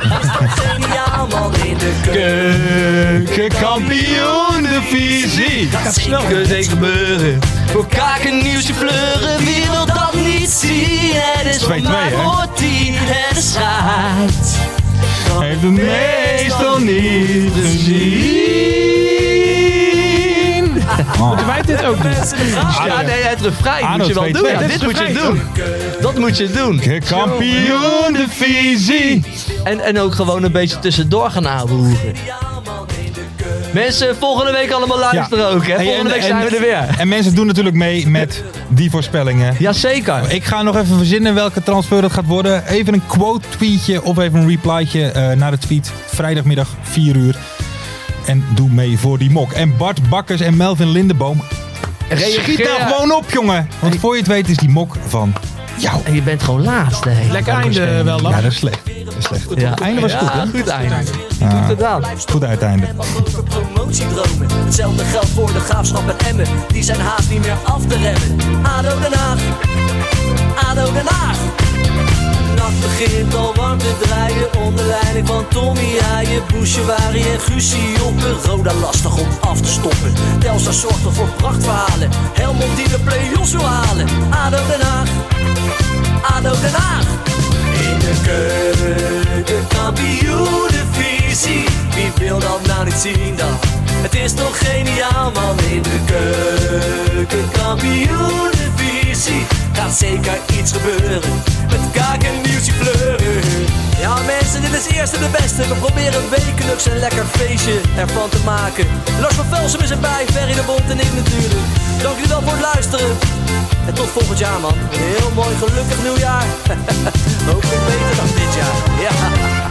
[SPEAKER 5] Keuken, kampioenenvisie.
[SPEAKER 7] Gaat snel. Kunt gebeuren. Voor kaken, nieuwsje, fleuren. Wie wil dat niet zien? Het is
[SPEAKER 5] 2-2,
[SPEAKER 7] voor mij
[SPEAKER 5] hè?
[SPEAKER 7] voor tien. Het is schijt.
[SPEAKER 5] Heeft het meestal niet gezien.
[SPEAKER 6] Moeten wij dit ook doen?
[SPEAKER 7] Ja, nee, het refrein
[SPEAKER 5] Arno,
[SPEAKER 7] moet je wel
[SPEAKER 5] 2-2.
[SPEAKER 7] doen. Ja,
[SPEAKER 5] Dat is
[SPEAKER 7] dit moet je doen. Dat moet je doen.
[SPEAKER 5] De kampioenenvisie.
[SPEAKER 7] En, en ook gewoon een beetje tussendoor gaan aanroeren. Mensen, volgende week allemaal luisteren ook. Hè?
[SPEAKER 5] Hey,
[SPEAKER 7] Volgende
[SPEAKER 5] en-
[SPEAKER 7] week
[SPEAKER 5] en-
[SPEAKER 7] zijn we er weer.
[SPEAKER 5] En mensen doen natuurlijk mee met die voorspellingen.
[SPEAKER 7] Jazeker.
[SPEAKER 5] Ik ga nog even verzinnen welke transfer het gaat worden. Even een quote tweetje of even een replytje eh, naar de tweet. Vrijdagmiddag 4 uur. En doe mee voor die mok. En Bart Bakkers en Melvin Lindenboom. Schiet daar gewoon op, jongen. Want voor je het weet is die mok van jou.
[SPEAKER 7] En je bent gewoon laatst. hè.
[SPEAKER 6] Lekker einde wel,
[SPEAKER 5] Ja,
[SPEAKER 6] Lars.
[SPEAKER 5] dat is slecht. Dat is slecht.
[SPEAKER 7] Ja.
[SPEAKER 5] Einde was goed,
[SPEAKER 7] Ja,
[SPEAKER 5] hè?
[SPEAKER 7] goed einde. Die doet het aan.
[SPEAKER 5] Goed uiteinde.
[SPEAKER 10] voor promotiedromen. Hetzelfde geldt voor de graafschap en Emmen. Die zijn haast niet meer af te remmen. Ado Den Haag, Ado Den Haag. De nacht begint al warm te draaien. Onder leiding van Tommy Haaien, Bouchouari en Guusje Joppen. Roda lastig om af te stoppen. Telstar zorgt er voor prachtverhalen. Helmond die de play-offs wil halen. Ado Den Haag, Ado Den Haag. In de keuken, kampioenenvisie. Wie wil dat nou niet zien dan? Het is toch geniaal man. In de keuken, kampioenenvisie. Gaat zeker iets gebeuren. Met kaak en nieuwsje fleuren. Ja mensen, dit is eerst en de beste. We proberen wekelijks een lekker feestje ervan te maken. Lars van Velsum is erbij, Ferry de Bond en ik natuurlijk. Dank jullie wel voor het luisteren. En tot volgend jaar man. Een heel mooi gelukkig nieuwjaar. Hopelijk beter dan dit jaar. Ja.